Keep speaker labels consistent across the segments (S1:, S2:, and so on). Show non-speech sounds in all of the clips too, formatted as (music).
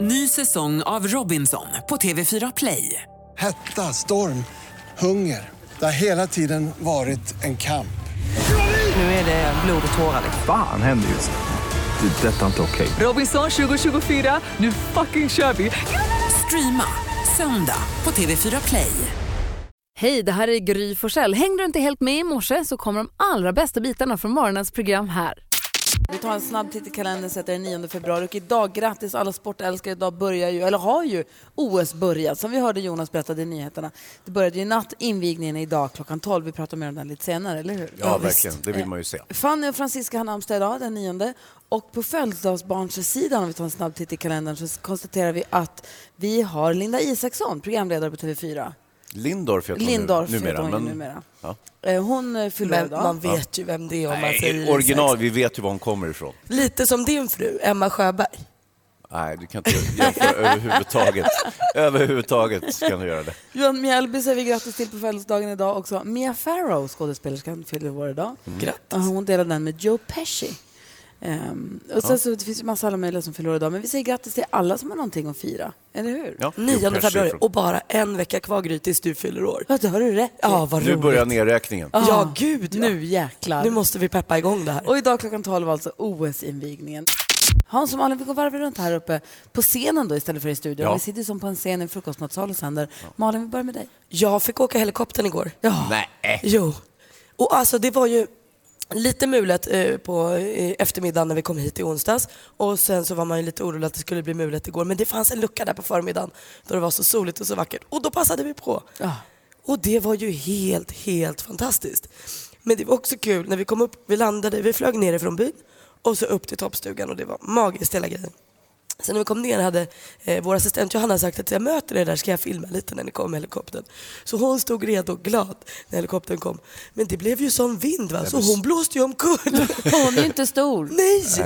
S1: Ny säsong av Robinson på TV4 Play.
S2: Hetta, storm, hunger. Det har hela tiden varit en kamp.
S1: Nu är det blod och tårar. liksom.
S3: Fan händer just nu. Det. är Detta är inte okej.
S1: Robinson 2024, nu fucking kör vi! Streama söndag på TV4 Play.
S4: Hej, det här är Gry Forssell. Hängde du inte helt med i morse så kommer de allra bästa bitarna från morgonens program här.
S5: Vi tar en snabb titt i kalendern, sätter den 9 februari och idag, grattis alla sportälskare, idag börjar ju, eller har ju OS börjat som vi hörde Jonas berättade i nyheterna. Det började ju i natt, invigningen är idag klockan 12, vi pratar mer om den lite senare, eller hur?
S6: Ja, verkligen. Det vill man ju se.
S5: Fanny och Francisca har namnsdag idag, den 9. Och på födelsedagsbarnsidan, om vi tar en snabb titt i kalendern, så konstaterar vi att vi har Linda Isaksson, programledare på TV4.
S6: Lindorf heter
S5: Lindorf
S6: hon nu-
S5: heter
S6: numera.
S5: hon ju
S6: men-
S5: numera.
S6: Ja.
S5: Eh, Hon eh, fyller
S7: Men
S5: idag.
S7: man vet ju vem det är om man
S6: Nej,
S7: säger
S6: original,
S7: Isak.
S6: vi vet ju var hon kommer ifrån.
S7: Lite som din fru, Emma Sjöberg.
S6: Nej, du kan inte jämföra överhuvudtaget. Överhuvudtaget kan du göra det.
S5: Johan Mjällby säger vi grattis till på födelsedagen idag också. Mia Farrow, skådespelerskan, fyller år idag.
S6: Mm.
S7: Grattis.
S5: Och Hon delar den med Joe Pesci. Ehm, och sen så det finns ju massa alla möjliga som fyller år idag, men vi säger grattis till alla som har någonting att fira, eller hur?
S6: Ja, Joe
S7: 9
S6: Pesci
S7: februari
S6: ifrån-
S7: och bara en vecka kvar Gry tills du fyller år.
S5: Ja, det har du rätt i.
S7: Ja, vad
S6: Nu
S7: roligt.
S6: börjar nedräkningen.
S5: Ah,
S7: Ja, gud ja.
S5: Nu jäklar.
S7: Nu måste vi peppa igång det här.
S5: Och idag klockan 12 alltså OS-invigningen. Hans och Malin, vi går varvet runt här uppe på scenen då istället för i studion.
S6: Ja.
S5: Vi sitter ju som på en scen i en frukostmatsal och sänder. Malin, vi börjar med dig.
S7: Jag fick åka helikoptern igår. Ja.
S6: Nej.
S7: Jo. Och alltså det var ju lite mulet eh, på eh, eftermiddagen när vi kom hit i onsdags och sen så var man ju lite orolig att det skulle bli mulet igår men det fanns en lucka där på förmiddagen då det var så soligt och så vackert och då passade vi på.
S5: Ja.
S7: Och det var ju helt, helt fantastiskt. Men det var också kul när vi kom upp, vi landade, vi flög nerifrån byn och så upp till toppstugan och det var magiskt hela grejen. Sen när vi kom ner hade eh, vår assistent Johanna sagt att jag möter er där ska jag filma lite när ni kommer med helikoptern. Så hon stod redo och glad när helikoptern kom. Men det blev ju sån vind va, så hon blåste ju omkull.
S5: Hon är ju inte stor.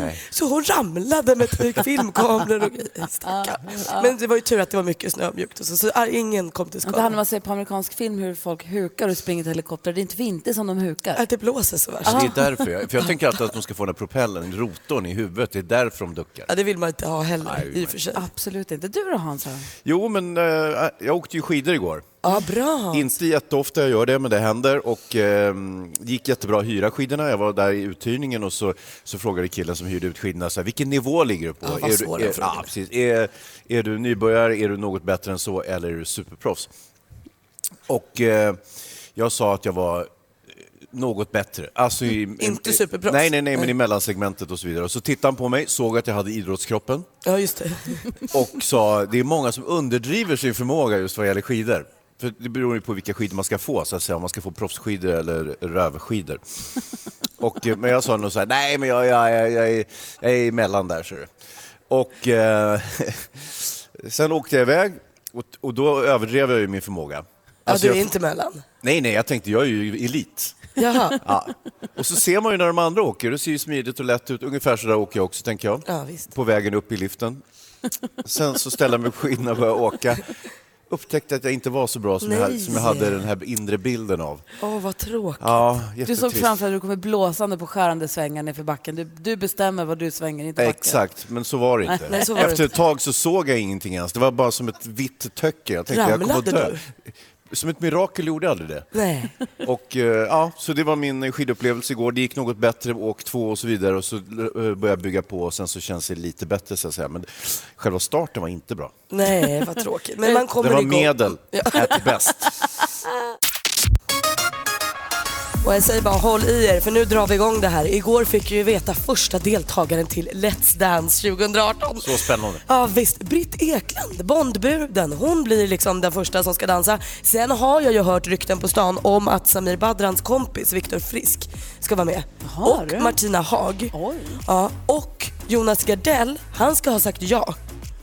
S7: Nej! Så hon ramlade med typ filmkameror och grejer. Stackarn. Men det var ju tur att det var mycket snö och mjukt och så, så ah, ingen kom till
S5: Det här när
S7: skada.
S5: man ser på amerikansk film hur folk hukar och springer till helikoptrar. Det är inte vinter som de hukar.
S7: Att det blåser så värst.
S6: Alltså, det är därför jag, för jag tänker alltid att de ska få den här propellen, rotorn i huvudet. Det är därför de duckar.
S7: Ja, det vill man inte ha heller
S6: Nej, det vill
S7: i
S6: man
S7: och för sig.
S5: Absolut inte. Du då Hans?
S6: Jo, men eh, jag åkte ju skidor igår.
S7: Ja, bra.
S6: Inte jätteofta jag gör det, men det händer. Och eh, det gick jättebra att hyra skidorna. Jag var där i uthyrningen och så, så frågade killen som hyrde ut skidorna, så här, vilken nivå ligger du på?
S7: Ja, vad
S6: är,
S7: svår
S6: du,
S7: den
S6: är,
S7: frågan
S6: ja,
S7: är.
S6: precis. Är, är du nybörjare, är du något bättre än så eller är du superproffs? Och eh, jag sa att jag var eh, något bättre. Alltså i,
S7: Mm, inte superproffs.
S6: Nej, nej, nej, men i
S7: Nej.
S6: mellansegmentet och så vidare. Och så tittade han på mig, såg att jag hade idrottskroppen
S7: Ja, just det.
S6: och sa det är många som underdriver sin förmåga just vad gäller skidor. För det beror ju på vilka skidor man ska få, så att säga, om man ska få proffsskidor eller
S7: (laughs)
S6: rövskidor. Och, eh, men jag sa nog så här, nej men jag, jag, jag, jag, är- jag är emellan där ser du. Och eh, (laughs) sen åkte jag iväg och, och då överdrev jag ju min förmåga.
S7: Ja,
S6: Alltså,
S7: du är
S6: jag-
S7: inte mellan.
S6: Nej, nej, jag tänkte jag är ju elit.
S7: Jaha.
S6: Ja. Och så ser man ju när de andra åker, det ser ju smidigt och lätt ut. Ungefär så där åker jag också, tänker jag.
S7: Ja, visst.
S6: På vägen upp i liften. Sen så ställer jag mig på skidorna och börjar åka. Upptäckte att jag inte var så bra som, jag, hade-
S7: Nej.
S6: som jag hade den här inre bilden av.
S7: Åh, vad tråkigt.
S6: Ja,
S5: Du
S6: jättetrist.
S5: såg framför dig att du kommer blåsande på skärande svängar nerför backen. Du, du bestämmer vad du svänger, inte backen.
S6: Exakt, men så var det inte.
S7: Nej, så var det
S6: Efter ett
S7: inte.
S6: tag så såg jag ingenting ens. Det var bara som ett vitt töcke. Jag tänkte jag kommer att
S7: Ramlade
S6: dö. Som ett mirakel gjorde jag aldrig
S7: (laughs)
S6: det.
S7: Nej.
S6: Och, eh, ja, så det var min skidupplevelse igår. Det gick något bättre, åk två och så vidare. Och så eh, började jag bygga på och sen så känns det lite bättre. Så att säga. Men själva starten var inte bra.
S7: Nej, vad tråkigt. Men man kommer
S6: Det var
S7: igång. (laughs)
S6: medel, at bäst.
S7: Och jag säger bara håll i er, för nu drar vi igång det här. Igår fick vi ju veta första deltagaren till Let's Dance 2018.
S6: Så spännande.
S7: Ja visst, Britt Ekland, Bondbruden, hon blir liksom den första som ska dansa. Sen har jag ju hört rykten på stan om att Samir Badrans kompis Viktor Frisk ska vara med.
S5: Har
S7: och
S5: du?
S7: Martina Haag.
S5: Oj.
S7: Ja, och Jonas Gardell, han ska ha sagt ja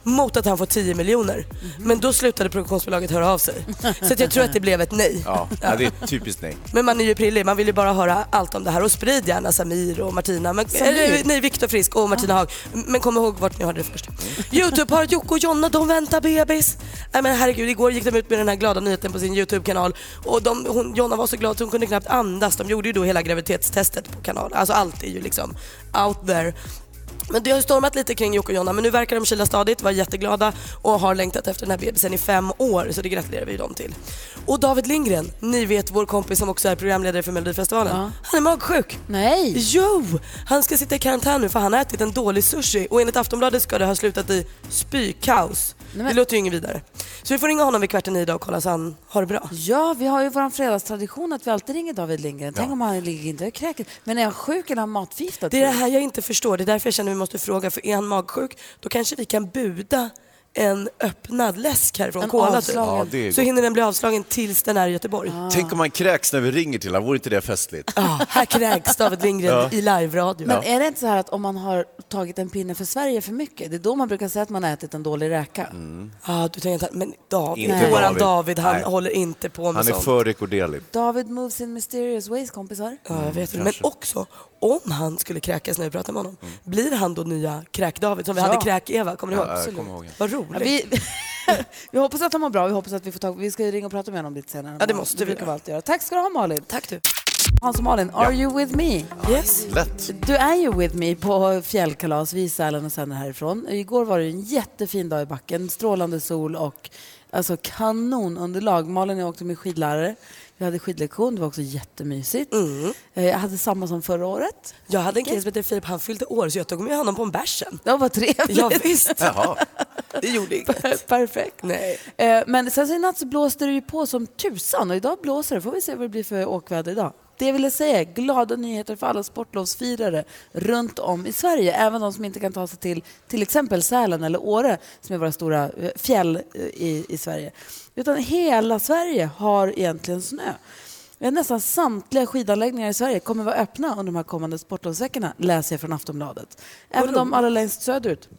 S7: mot att han får 10 miljoner.
S5: Mhm.
S7: Men då slutade produktionsbolaget höra av sig. Så att jag tror att det blev ett nej.
S6: Ja, ja, det är typiskt nej.
S7: Men man är ju prillig, man vill ju bara höra allt om det här och sprid gärna Samir och Martina, men, eller, nej Viktor Frisk och Martina Haag. Men kom ihåg vart ni hörde det först. Youtube-paret Jocke och Jonna, de väntar bebis. Nej men herregud, igår gick de ut med den här glada nyheten på sin Youtube-kanal och de, hon, Jonna var så glad så hon kunde knappt andas. De gjorde ju då hela graviditetstestet på kanalen, alltså allt är ju liksom out there. Men det har ju stormat lite kring Jocke och Jonna, men nu verkar de kyla stadigt, var jätteglada och har längtat efter den här bebisen i fem år, så det gratulerar vi dem till. Och David Lindgren, ni vet vår kompis som också är programledare för Melodifestivalen. Han är magsjuk.
S5: Nej!
S7: Jo! Han ska sitta i karantän nu för han har ätit en dålig sushi och enligt Aftonbladet ska det ha slutat i spykaos.
S5: men-
S7: Det låter ju inget vidare. Så vi får ringa honom vid kvart i nio idag och kolla så han har det bra.
S5: Ja, vi har ju vår fredagstradition att vi alltid ringer David Lindgren. Tänk om han ligger inte och kräker. Men är han sjuk eller har han matförgiftad?
S7: Det är
S6: Mm.
S7: det här jag inte förstår. Det är därför jag känner att vi måste fråga. För är han magsjuk, då kanske vi kan buda en öppnad läsk härifrån
S5: En
S7: Cola typ.
S5: avslagen.
S6: Ja, det är
S7: Så
S6: gott. Ah.
S7: hinner den bli avslagen tills den är i Göteborg.
S6: Tänk om man kräks när vi ringer till honom, vore inte det festligt?
S7: Ja, här kräks
S6: (laughs)
S7: David Lindgren i live-radio.
S5: Men är det inte så här att om man har tagit en pinne för Sverige för mycket, det är då man brukar säga att man har ätit en dålig räka?
S7: Ja, Ah, du tänker inte, men David,
S6: Inte
S7: våran
S6: David.
S7: David, han
S6: Nej.
S7: håller inte på med
S6: Han är
S7: sånt.
S6: för rekorderlig.
S5: David moves in mysterious ways, kompisar.
S7: Ja, jag
S6: Mm,
S7: vet. Men också, om han skulle kräkas när vi pratar med honom, blir han då nya Kräk-David som vi
S5: Ja.
S7: hade Kräk-Eva? Kommer du ihåg?
S6: jag kommer ihåg.
S7: Vad
S5: Ja,
S7: roligt.
S5: vi, (laughs) vi hoppas att han mår bra. Vi hoppas att vi får tag Vi ska ju ringa och prata med honom lite senare.
S7: Ja, det måste vi
S5: brukar vi
S7: göra.
S5: alltid göra. Tack ska du ha, Malin.
S7: Tack du.
S5: Hans och Malin, are you with me?
S7: Yes.
S6: Lätt.
S5: Du är ju with me på fjällkalas. Vi sälen och sänder härifrån. Igår var det en jättefin dag i backen. Strålande sol och alltså kanonunderlag. Malin och jag åkte med skidlärare. Vi hade skidlektion. Det var också jättemysigt.
S7: Mm.
S5: Eh, Jag hade samma som förra året.
S7: Jag hade en kille som hette Filip, han fyllde år så jag tog med honom på en bärs sen.
S5: Det var (laughs) trevligt.
S7: Ja, visst.
S6: Jaha.
S7: Det gjorde
S5: (laughs)
S7: inget.
S5: Perfekt.
S7: Nej.
S5: Eh, Men sen så i natt så blåste det ju på som tusan och idag blåser det. Får vi se vad det blir för åkväder idag. Det jag ville säga är glada nyheter för alla sportlovsfirare runt om i Sverige. Även de som inte kan ta sig till till exempel Sälen eller Åre som är våra stora eh, fjäll eh, i, i Sverige. Utan hela Sverige har egentligen snö. Eh, Nästan samtliga skidanläggningar i Sverige kommer vara öppna under de här kommande sportlovsveckorna, läser jag från Aftonbladet. Även de allra längst söderut.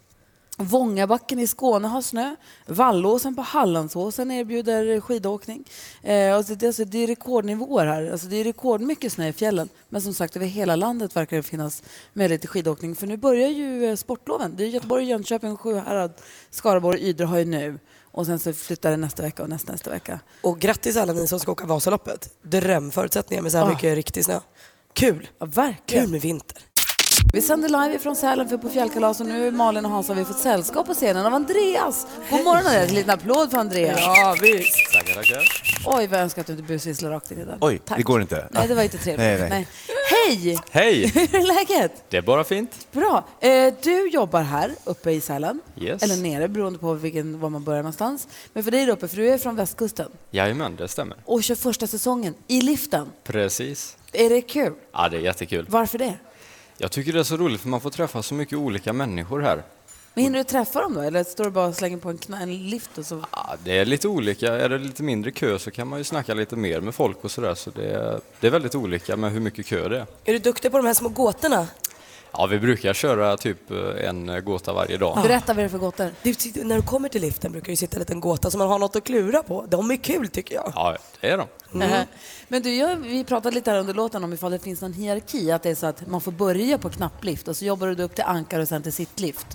S5: Vångabacken i Skåne har snö. Vallåsen på Hallandsåsen erbjuder skidåkning. Eh, alltså det, alltså det är rekordnivåer här. Alltså det är rekordmycket snö i fjällen. Men som sagt, över hela landet verkar det finnas möjlighet till skidåkning. För nu börjar ju eh, sportloven. Det är Göteborg, Jönköping, Sjuhärad, Skaraborg och Ydre har ju nu. Och sen så flyttar det nästa vecka och nästa, nästa vecka.
S7: Och grattis alla ni som ska åka Vasaloppet. Drömförutsättningar med så här
S5: Ah.
S7: mycket riktig snö. Kul.
S5: Ja,
S7: Kul
S5: verkligen.
S7: med vinter.
S5: Vi sänder live ifrån Sälen för På fjällkalas och nu Malin och Hans har vi fått sällskap på scenen av Andreas. God morgon Andreas, en liten applåd för Andreas.
S7: Ja, visst.
S6: Tackar, tackar.
S5: Oj, vad jag önskar att du inte busvisslar rakt in i den.
S6: Oj, det går inte.
S5: Nej, det var inte trevligt.
S6: Nej, nej.
S5: Hej!
S8: Hej!
S5: (laughs) Hur är läget?
S8: Det är bara fint.
S5: Bra. Eh, du jobbar här uppe i Sälen.
S8: Yes.
S5: Eller nere, beroende på vilken, var man börjar någonstans. Men för dig där uppe, för du är från västkusten
S8: Jajamän, det stämmer.
S5: och kör första säsongen i liften.
S8: Precis.
S5: Är det kul?
S8: Ja, det är jättekul.
S5: Varför det?
S8: Jag tycker det är så roligt för man får träffa så mycket olika människor här.
S5: Men hinner du träffa dem då? Eller står du bara och slänger på en, kna- en lift och så?
S8: Ja, det är lite olika. Är det lite mindre kö så kan man ju snacka lite mer med folk och sådär. Så det är, det är väldigt olika med hur mycket kö det är.
S7: Är du duktig på de här små gåtorna?
S8: Ja, vi brukar köra typ eh, en gåta varje dag.
S5: Berätta vad det är för gåtor.
S7: Du, sitter- när du kommer till liften brukar det ju sitta en liten gåta som man har något att klura på. De är kul tycker jag.
S8: Ja, det är de.
S7: Mm.
S5: Eh, Men du, jag, vi pratade lite här under låten om ifall det finns någon hierarki, att det är så att man får börja på knapplift och så jobbar du upp till ankar och sen till sittlift.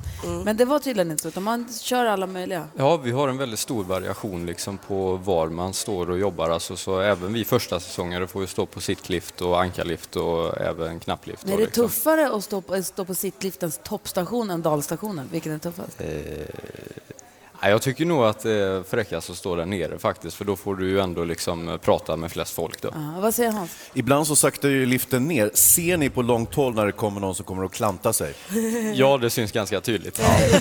S5: Men det var tydligen inte så, utan man kör alla möjliga.
S8: Ja, vi har en väldigt stor variation liksom på var man står och jobbar. Alltså, så även vi första säsongare får ju stå på sittlift och ankarlift och även knapplift.
S5: Men är
S8: och
S5: det
S8: liksom.
S5: tuffare att stå på, stå på sittliftens toppstation än dalstationen? Vilken är tuffast?
S8: Nej, jag tycker nog att det är fräckast att stå där nere faktiskt, för då får du ju ändå liksom eh, prata med flest folk då.
S5: Ja, vad säger Hans?
S6: Ibland så saktar ju liften ner. Ser ni på långt håll när det kommer någon som kommer att klanta
S7: (laughs)
S6: sig?
S8: Ja, det syns ganska tydligt.
S7: Det är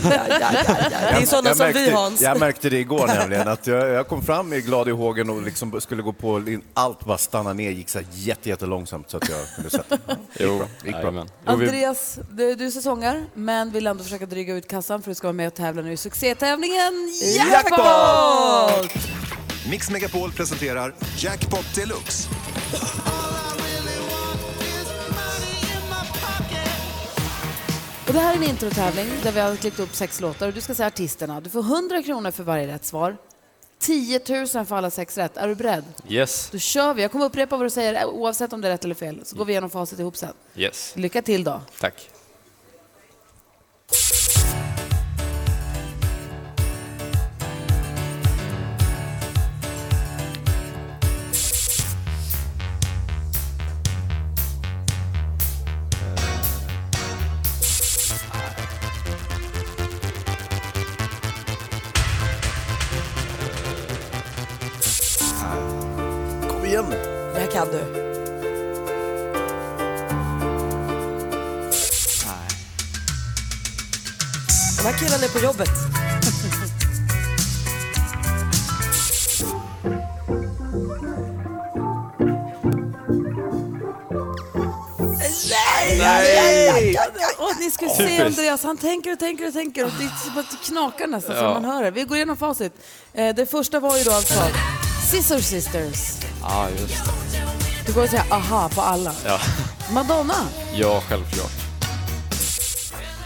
S7: sådana
S6: jag
S7: som
S6: märkte,
S7: vi Hans.
S6: Jag märkte det igår nämligen, att jag, jag kom fram med glad i hågen och liksom skulle gå på, lin- allt bara stannade ner, gick så här jätte, jättelångsamt så att jag kunde sätta mig.
S8: Jo,
S6: bra, gick bra.
S8: jajamän. Jo, vi-
S5: Andreas, du, du säsongar, men vill ändå försöka dryga ut kassan för du ska vara med och tävla nu i succétävlingen Jackpot!
S9: Mix Megapol presenterar Jackpot Deluxe.
S5: Och det här är en introtävling där vi har klippt upp sex låtar och du ska säga artisterna. Du får 100 kronor för varje rätt svar. 10 000 för alla sex rätt. Är du beredd?
S8: Yes,
S5: Då kör vi. Jag kommer upprepa vad du säger eh, oavsett om det är rätt eller fel. Så går vi igenom facit ihop sen.
S8: yes,
S5: Lycka till då.
S8: tack.
S6: Jajamän.
S7: Det här kan du. De här killarna är på jobbet.
S5: Och ni skulle se Andreas, han tänker och tänker och tänker och det är som att det knakar nästan så man hör det. Vi går igenom facit. Eh, Det första var ju då alltså Scissor Sisters.
S8: Ja, just det.
S5: Du går och säger aha på alla.
S8: Ja,
S5: Madonna,
S8: ja självklart.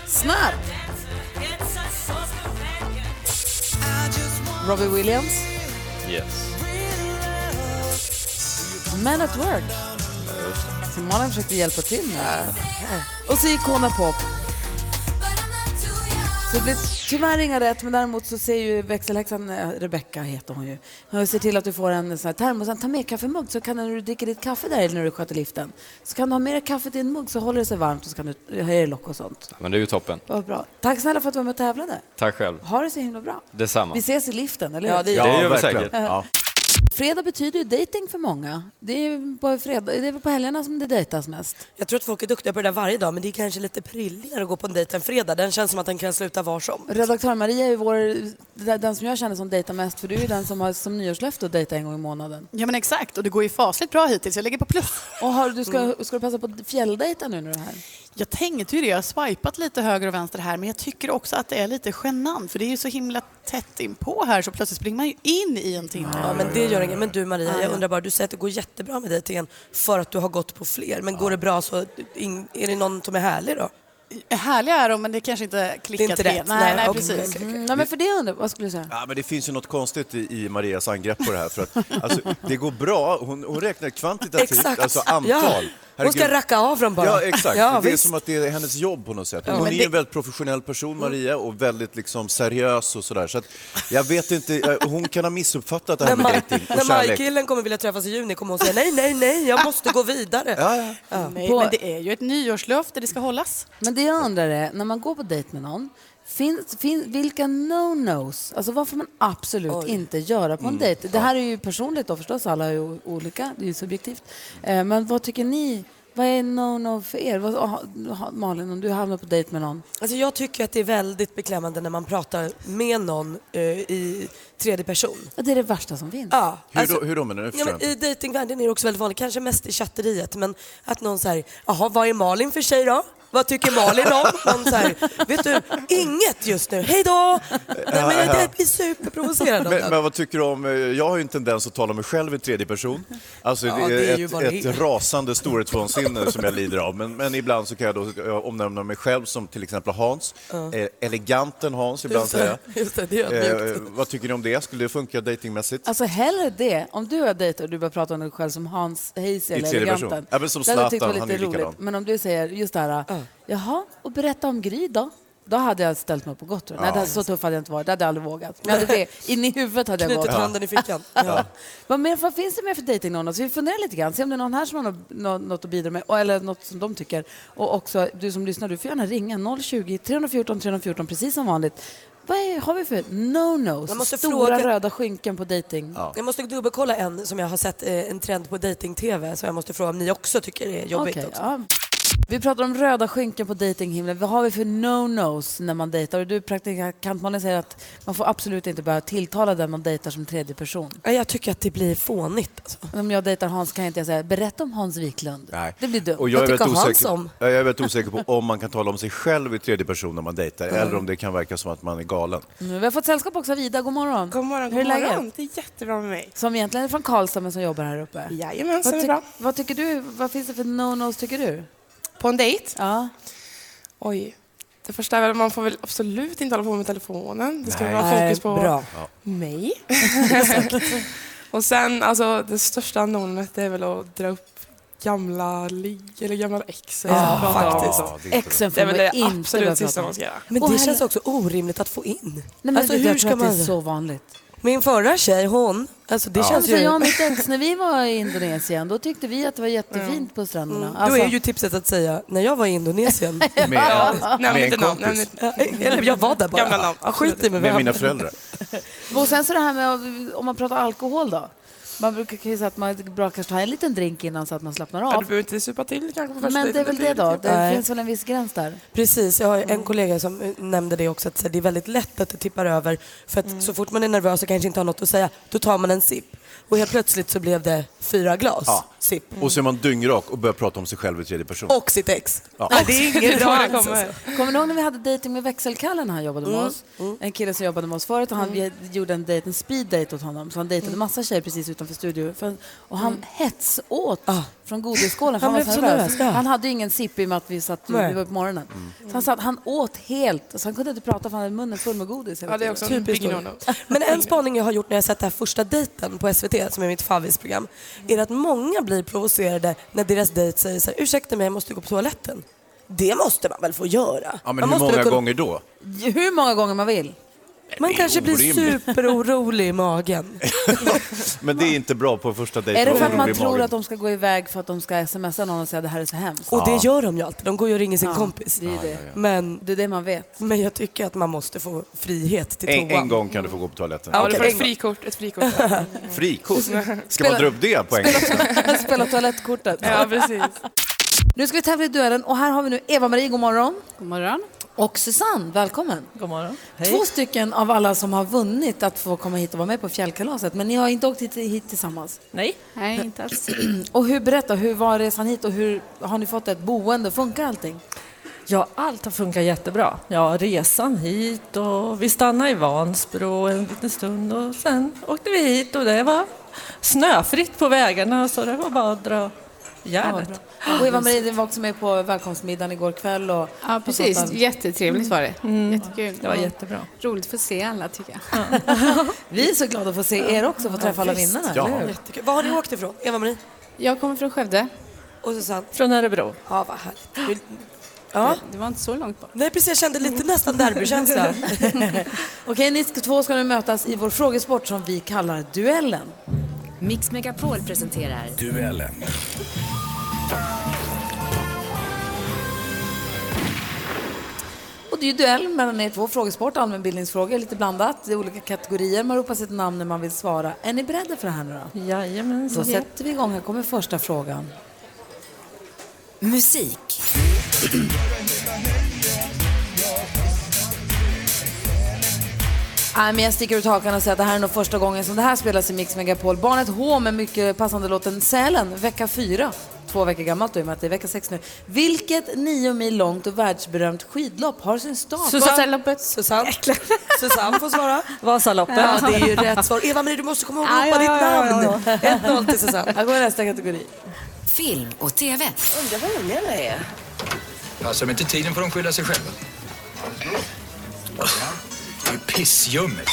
S5: Snap. Robbie Williams,
S8: Yes.
S5: Man at Work. Simona försökte hjälpa till nu. Och så Icona Pop. Så det blir tyvärr inga rätt, men däremot så ser ju växelhäxan, eh, Rebecca heter hon ju, hon ser till att du får en sån här termos, en ta med kaffemugg så kan du när du dricker ditt kaffe där eller när du sköter liften, så kan du ha med dig kaffet i en mugg så håller det sig varmt och så kan du höja i lock och sånt.
S8: Men det är ju toppen.
S5: Vad bra. Tack snälla för att du var med och tävlade.
S8: Tack själv.
S5: Ha det så himla bra.
S8: Detsamma.
S5: Vi ses i liften, eller hur? Ja,
S8: Det gör vi
S6: verkligen.
S8: säkert.
S6: Ja.
S5: Fredag betyder ju dating för många. Det är ju på, fredag, det är väl på helgerna som det dejtas mest.
S7: Jag tror att folk är duktiga på det där varje dag men det är kanske lite prilligare att gå på en dejt en fredag. Den känns som att den kan sluta var som.
S5: Redaktör Maria är ju vår, den som jag känner som dejtar mest för du är ju den som har som nyårslöfte att dejta en gång i månaden.
S10: Ja men exakt, och det går ju fasligt bra hittills. Jag lägger på plus. (laughs)
S5: Och har, du ska, ska du passa på att fjälldejta nu när du är här?
S10: Jag tänkte ju det, jag har swipat lite höger och vänster här men jag tycker också att det är lite genant för det är ju så himla tätt inpå här så plötsligt springer man ju in i en timme.
S7: Ja men det gör inget. Men du
S10: Ah,
S7: Maria, jag undrar bara, du säger att det går jättebra med dejtingen för att du har gått på fler. Men går det bra så, in- är det någon som är härlig då?
S10: Härliga är de men det kanske inte
S7: Det
S10: klickar
S7: är inte rätt?
S10: Nej, nej,
S7: okej,
S10: precis.
S7: okej, okej.
S5: Mm, nej, men för det undrar vad skulle du säga?
S6: Ja, men det finns ju något konstigt i, i Marias angrepp på det här. För att, alltså, det går bra, hon, hon räknar kvantitativt,
S7: Exakt.
S6: alltså antal.
S7: Ja. Hon ska
S6: Herregud.
S7: racka av dem bara.
S6: Ja, exakt.
S7: Ja,
S6: det är
S7: visst.
S6: som att det är hennes jobb på något sätt. hon
S10: men
S6: är
S10: det-
S6: en väldigt professionell person, Maria, och väldigt liksom seriös och sådär. Så att jag vet inte, eh, hon kan ha missuppfattat det här
S7: När,
S6: med
S7: Ma-
S6: dejting
S7: när
S6: och kärlek.
S7: Maj-killen kommer vilja träffas i juni kommer hon säga nej, nej, nej, jag måste gå vidare.
S6: Ja, ja.
S10: Nej,
S5: På-
S10: men det är ju ett nyårslöfte, det ska hållas.
S5: Men det jag undrar är, när man går på dejt med någon, finns, finns, vilka no-nos, alltså vad får man absolut inte göra på en dejt? Det här är ju personligt då förstås, alla är ju o- olika, det är ju subjektivt. Eh, men vad tycker ni, vad är no-no för er? Vad, aha, aha, Malin, om du hamnar på dejt med någon,
S7: Alltså jag tycker att det är väldigt beklämmande när man pratar med någon eh, i tredje person.
S5: ja, det är det värsta som finns.
S7: Ja,
S6: Hur då- hur då menar du?
S7: Alltså- Ja, men I dejtingvärlden är det också väldigt vanligt, kanske mest i chatteriet, men att någon säger jaha vad är Malin för tjej då? Vad tycker Malin
S6: (laughs)
S7: om? Någon säger, vet du, inget just nu, hej då! Nej, men jag jag blir superprovocerad av
S6: Men,
S7: den.
S6: men vad tycker du om, eh, jag har ju en tendens att tala om mig själv i tredje person. Alltså
S7: Ja,
S6: det
S7: det är
S6: är
S7: ju
S6: ett,
S7: vad det är.
S6: ett rasande storhetsvansinne som jag lider av. Men, men ibland så kan jag då eh, omnämna mig själv som till exempel Hans, eh, eleganten Hans ibland
S7: Just det,
S6: säger
S7: (laughs) just det, det är
S6: jag. Eh,
S7: ödmjukt.
S6: vad tycker ni om det? Skulle det funka datingmässigt?
S5: Alltså hellre det, om du och jag dejtar och du börjar prata om dig själv som Hans Hayes eller
S6: tredje person.
S5: Eleganten.
S6: Ja, men som
S5: det hade jag tyckt var
S6: Zlatan,
S5: lite
S6: han är likadan.
S5: Men om du säger just det här, jaha, och berätta om Gry då? Då hade jag ställt mig upp och gått. tror jag. Nej, det här, så tuff hade jag inte varit, det hade jag aldrig vågat. Men jag hade det, in i huvudet hade jag
S7: Knutit
S5: gått.
S7: handen i fickan.
S5: Ja. (laughs) Vad, mer, vad finns det mer för dejting någon? Så vi funderar lite grann, se om det är någon här som har nå- nå- något att bidra med, och- eller något som de tycker. Och också, du som lyssnar, du får gärna ringa 020-314 314, precis som vanligt. Vad är, har vi för
S7: Man
S5: no-nos?
S7: måste
S5: Stora
S7: fråga-
S5: röda skynken på dejting.
S7: Jag måste dubbelkolla en som jag har sett, eh, en trend på dating-tv, så jag måste fråga om ni också tycker det är jobbigt
S5: Okej,
S7: också.
S5: ja. Vi pratar om röda skynken på dejtinghimlen. Vad har vi för no-nos när man dejtar? Och Du praktikant Malin säger att man får absolut inte börja tilltala den man dejtar som tredje person.
S7: Ja, Jag tycker att det blir fånigt. Alltså.
S5: Om jag dejtar Hans kan jag inte säga berätta om Hans Wiklund.
S6: Nej.
S5: Det blir dumt.
S6: Och jag, är
S7: Vad
S6: väldigt
S7: tycker han
S6: osäker,
S7: som?
S6: Ja, jag är väldigt osäker på om man kan tala om sig själv i tredje person när man dejtar eller om det kan verka som att man är galen.
S5: Nu, vi har fått sällskap också av Ida. God morgon.
S11: God morgon,
S5: Hur är
S11: god
S5: läget?
S11: morgon. Det är jättebra med mig.
S5: Som egentligen är från Karlstad men som jobbar här uppe.
S11: Jajamensan,
S5: Vad,
S11: det är
S5: tyck-
S11: bra.
S5: vad tycker du? Vad finns det för no-nos tycker du?
S11: På en dejt?
S5: Ja.
S11: Oj. Det första är väl att man får väl absolut inte hålla på med telefonen. Det ska vara
S7: Nej,
S11: fokus på
S7: bra.
S11: mig. och sen, alltså det största anonymet det är väl att dra upp gamla ligg eller gamla ex. eller så prata om
S6: Ja,
S11: så.
S6: det är inte
S5: Exen
S11: Det
S5: får
S11: är väl
S5: man
S11: det
S5: inte börja
S11: absolut sista
S5: prata om.
S11: man ska göra.
S7: Men
S5: Och
S7: det
S5: heller-
S7: känns också orimligt att få in.
S5: Nej, men
S7: alltså,
S5: det,
S7: hur
S5: jag
S7: ska
S5: tror att
S7: man...
S5: det är så vanligt.
S7: Min förra tjej, hon, alltså det känns
S5: Alltså
S7: ju...
S5: jag och mitt ex, när vi var i Indonesien, då tyckte vi att det var jättefint på stränderna. Alltså,
S7: Mm. Då är ju tipset att säga, när jag var i
S11: (laughs)
S7: Indonesien, (laughs)
S6: Med,
S11: Nämn
S6: med
S11: inte
S6: en
S11: namn. nämn
S6: kompis.
S11: inte-
S7: eller jag var där bara.
S11: Gamla namn.
S7: Ja, skit i mig.
S6: Med
S7: vem.
S6: mina föräldrar.
S5: Och sen så det här med, om man pratar alkohol då. Man brukar ju säga att man är bra kanske ta en liten drink innan så att man slappnar
S11: Ja, du
S5: av.
S11: behöver inte supa till kanske på första
S5: Men det är
S11: dejten,
S5: väl det då?
S7: typ.
S11: lite-
S5: Det finns väl en viss gräns där?
S7: Precis, jag har ju
S11: Mm.
S7: en kollega som eh, nämnde det också, att så här, det är väldigt lätt att det tippar över. För att
S11: Mm.
S7: så fort man är nervös och kanske inte har något att säga, då tar man en sipp. Och helt plötsligt så blev det fyra glas
S6: Ja.
S7: sipp.
S6: Och så är man dyngrak och börjar prata om sig själv i tredje person.
S7: Och sitt ex.
S6: Ja.
S7: Nej, det är inget bra alls. Alltså.
S5: Kommer ni ihåg när vi hade dejting med växelkallen när han jobbade med
S7: Mm.
S5: oss? En kille som jobbade med oss förut och han vi gjorde en dejt, en speed date åt honom. Så han
S7: Mm.
S5: dejtade massa tjejer precis utanför studion. För- Och han hetsåt från godisskålen för
S7: Ah. Han
S5: han, var
S7: blev
S5: så
S7: så
S5: nervös.
S7: nervös, ja.
S5: Han hade ju ingen sipp i och med att vi satt
S7: Nej. Mm.
S5: det var på morgonen. Så han satt, han åt helt, alltså han kunde inte prata för han hade munnen full med godis hela
S11: Ja, det är
S5: tiden.
S11: också en big
S7: då.
S11: no-no.
S7: (laughs) Men en spaning jag har gjort när jag sett det här första dejten på SVT, som är mitt favoritprogram, är
S11: Mm.
S7: att många blir provocerade när deras dejt säger så här, ursäkta mig, jag måste gå på toaletten. Det måste man väl få göra?
S6: Ja, men
S7: man
S6: hur
S7: måste väl
S6: många
S7: kunna-
S6: gånger då?
S5: Hur många gånger man vill.
S7: Man
S6: Det är
S7: kanske blir
S6: orimligt.
S7: superorolig
S6: (laughs)
S7: i magen.
S6: Men det är inte bra på första dejten.
S5: Är det för att
S6: Orolig
S5: man
S6: i
S5: tror
S6: magen.
S5: att de ska gå iväg för att de ska smsa någon och säga det här är så hemskt?
S7: Och det gör de ju alltid. De går ju och ringer sin
S5: Ja,
S7: kompis.
S5: det är det.
S7: Men,
S5: Det är det
S11: (laughs)
S5: man vet. (laughs)
S7: men jag tycker att man måste få frihet till
S6: en,
S7: toan.
S6: en gång kan du få gå på toaletten.
S11: Ja, du
S7: Okej.
S11: får ett frikort. Ett frikort.
S6: Frikort? Ska
S5: Spela-
S6: man dra upp det på engelska?
S5: Spela toalettkortet.
S11: (laughs) ja, precis.
S5: Nu ska vi tävla i duellen och här har vi nu Eva-Marie, god morgon.
S10: God morgon.
S5: Och Susanne, välkommen.
S12: God morgon.
S5: Två stycken av alla som har vunnit att få komma hit och vara med på fjällkalaset, men ni har inte åkt hit, hit tillsammans.
S12: Nej.
S10: Nej, inte alls.
S5: (clears throat) Och hur, berätta, hur var resan hit och hur har ni fått ett boende? Funkar allting?
S12: Ja, allt har funkat jättebra. Ja, resan hit och vi stannade i Vansbro en liten stund och sen åkte vi hit och det var snöfritt på vägarna så det var bara att dra järnet.
S5: Och Eva-Marie, du var också med på välkomstmiddagen igår kväll. Och
S13: Ja, precis. Jättetrevligt var det. Jättekul.
S12: Det var jättebra.
S13: Roligt för att se alla, tycker jag.
S5: (laughs) Vi är så glada att få se er också, få träffa alla vinnarna.
S6: Ja.
S5: eller hur?
S7: Jättekul. Var har ni åkt ifrån? Eva-Marie?
S13: Jag kommer från Skövde.
S7: Och Susanne?
S12: Från Örebro.
S7: Ja, vad härligt. Ja.
S13: Det var inte så långt bort.
S7: Nej, precis. Jag kände lite nästan derbykänsla.
S13: (laughs)
S5: (laughs) Okej, ni ska- två ska nu mötas i vår frågesport som vi kallar Duellen.
S14: Mix Megapol presenterar
S15: Duellen.
S5: Och det är ju duell mellan er två frågesport, allmänbildningsfrågor, lite blandat. Det är olika kategorier, man ropar sitt namn när man vill svara. Är ni beredda för det här nu då?
S12: Jajamän.
S5: Då sätter vi igång, här kommer första frågan. Musik. Nej, men jag sticker ut hakan och säger att det här är nog första gången som det här spelas i Mix Megapol. Barnet H med mycket passande låten Sälen, vecka fyra. Två veckor gammalt då, i och med att det är vecka sex nu. Vilket nio mil långt och världsberömt skidlopp har sin start?
S13: Vasaloppet.
S7: Susanne. (laughs) Susanne får svara.
S12: Vasaloppet.
S7: Ja, det är ju rätt svar. Eva-Marie, du måste komma ihåg att ropa ditt namn. 1-0 till Susanne.
S5: Jag går i nästa kategori.
S14: film och tv.
S16: Undrar vad ungarna är.
S15: Passar de inte tiden får de skylla sig själva. Det är pissljummet.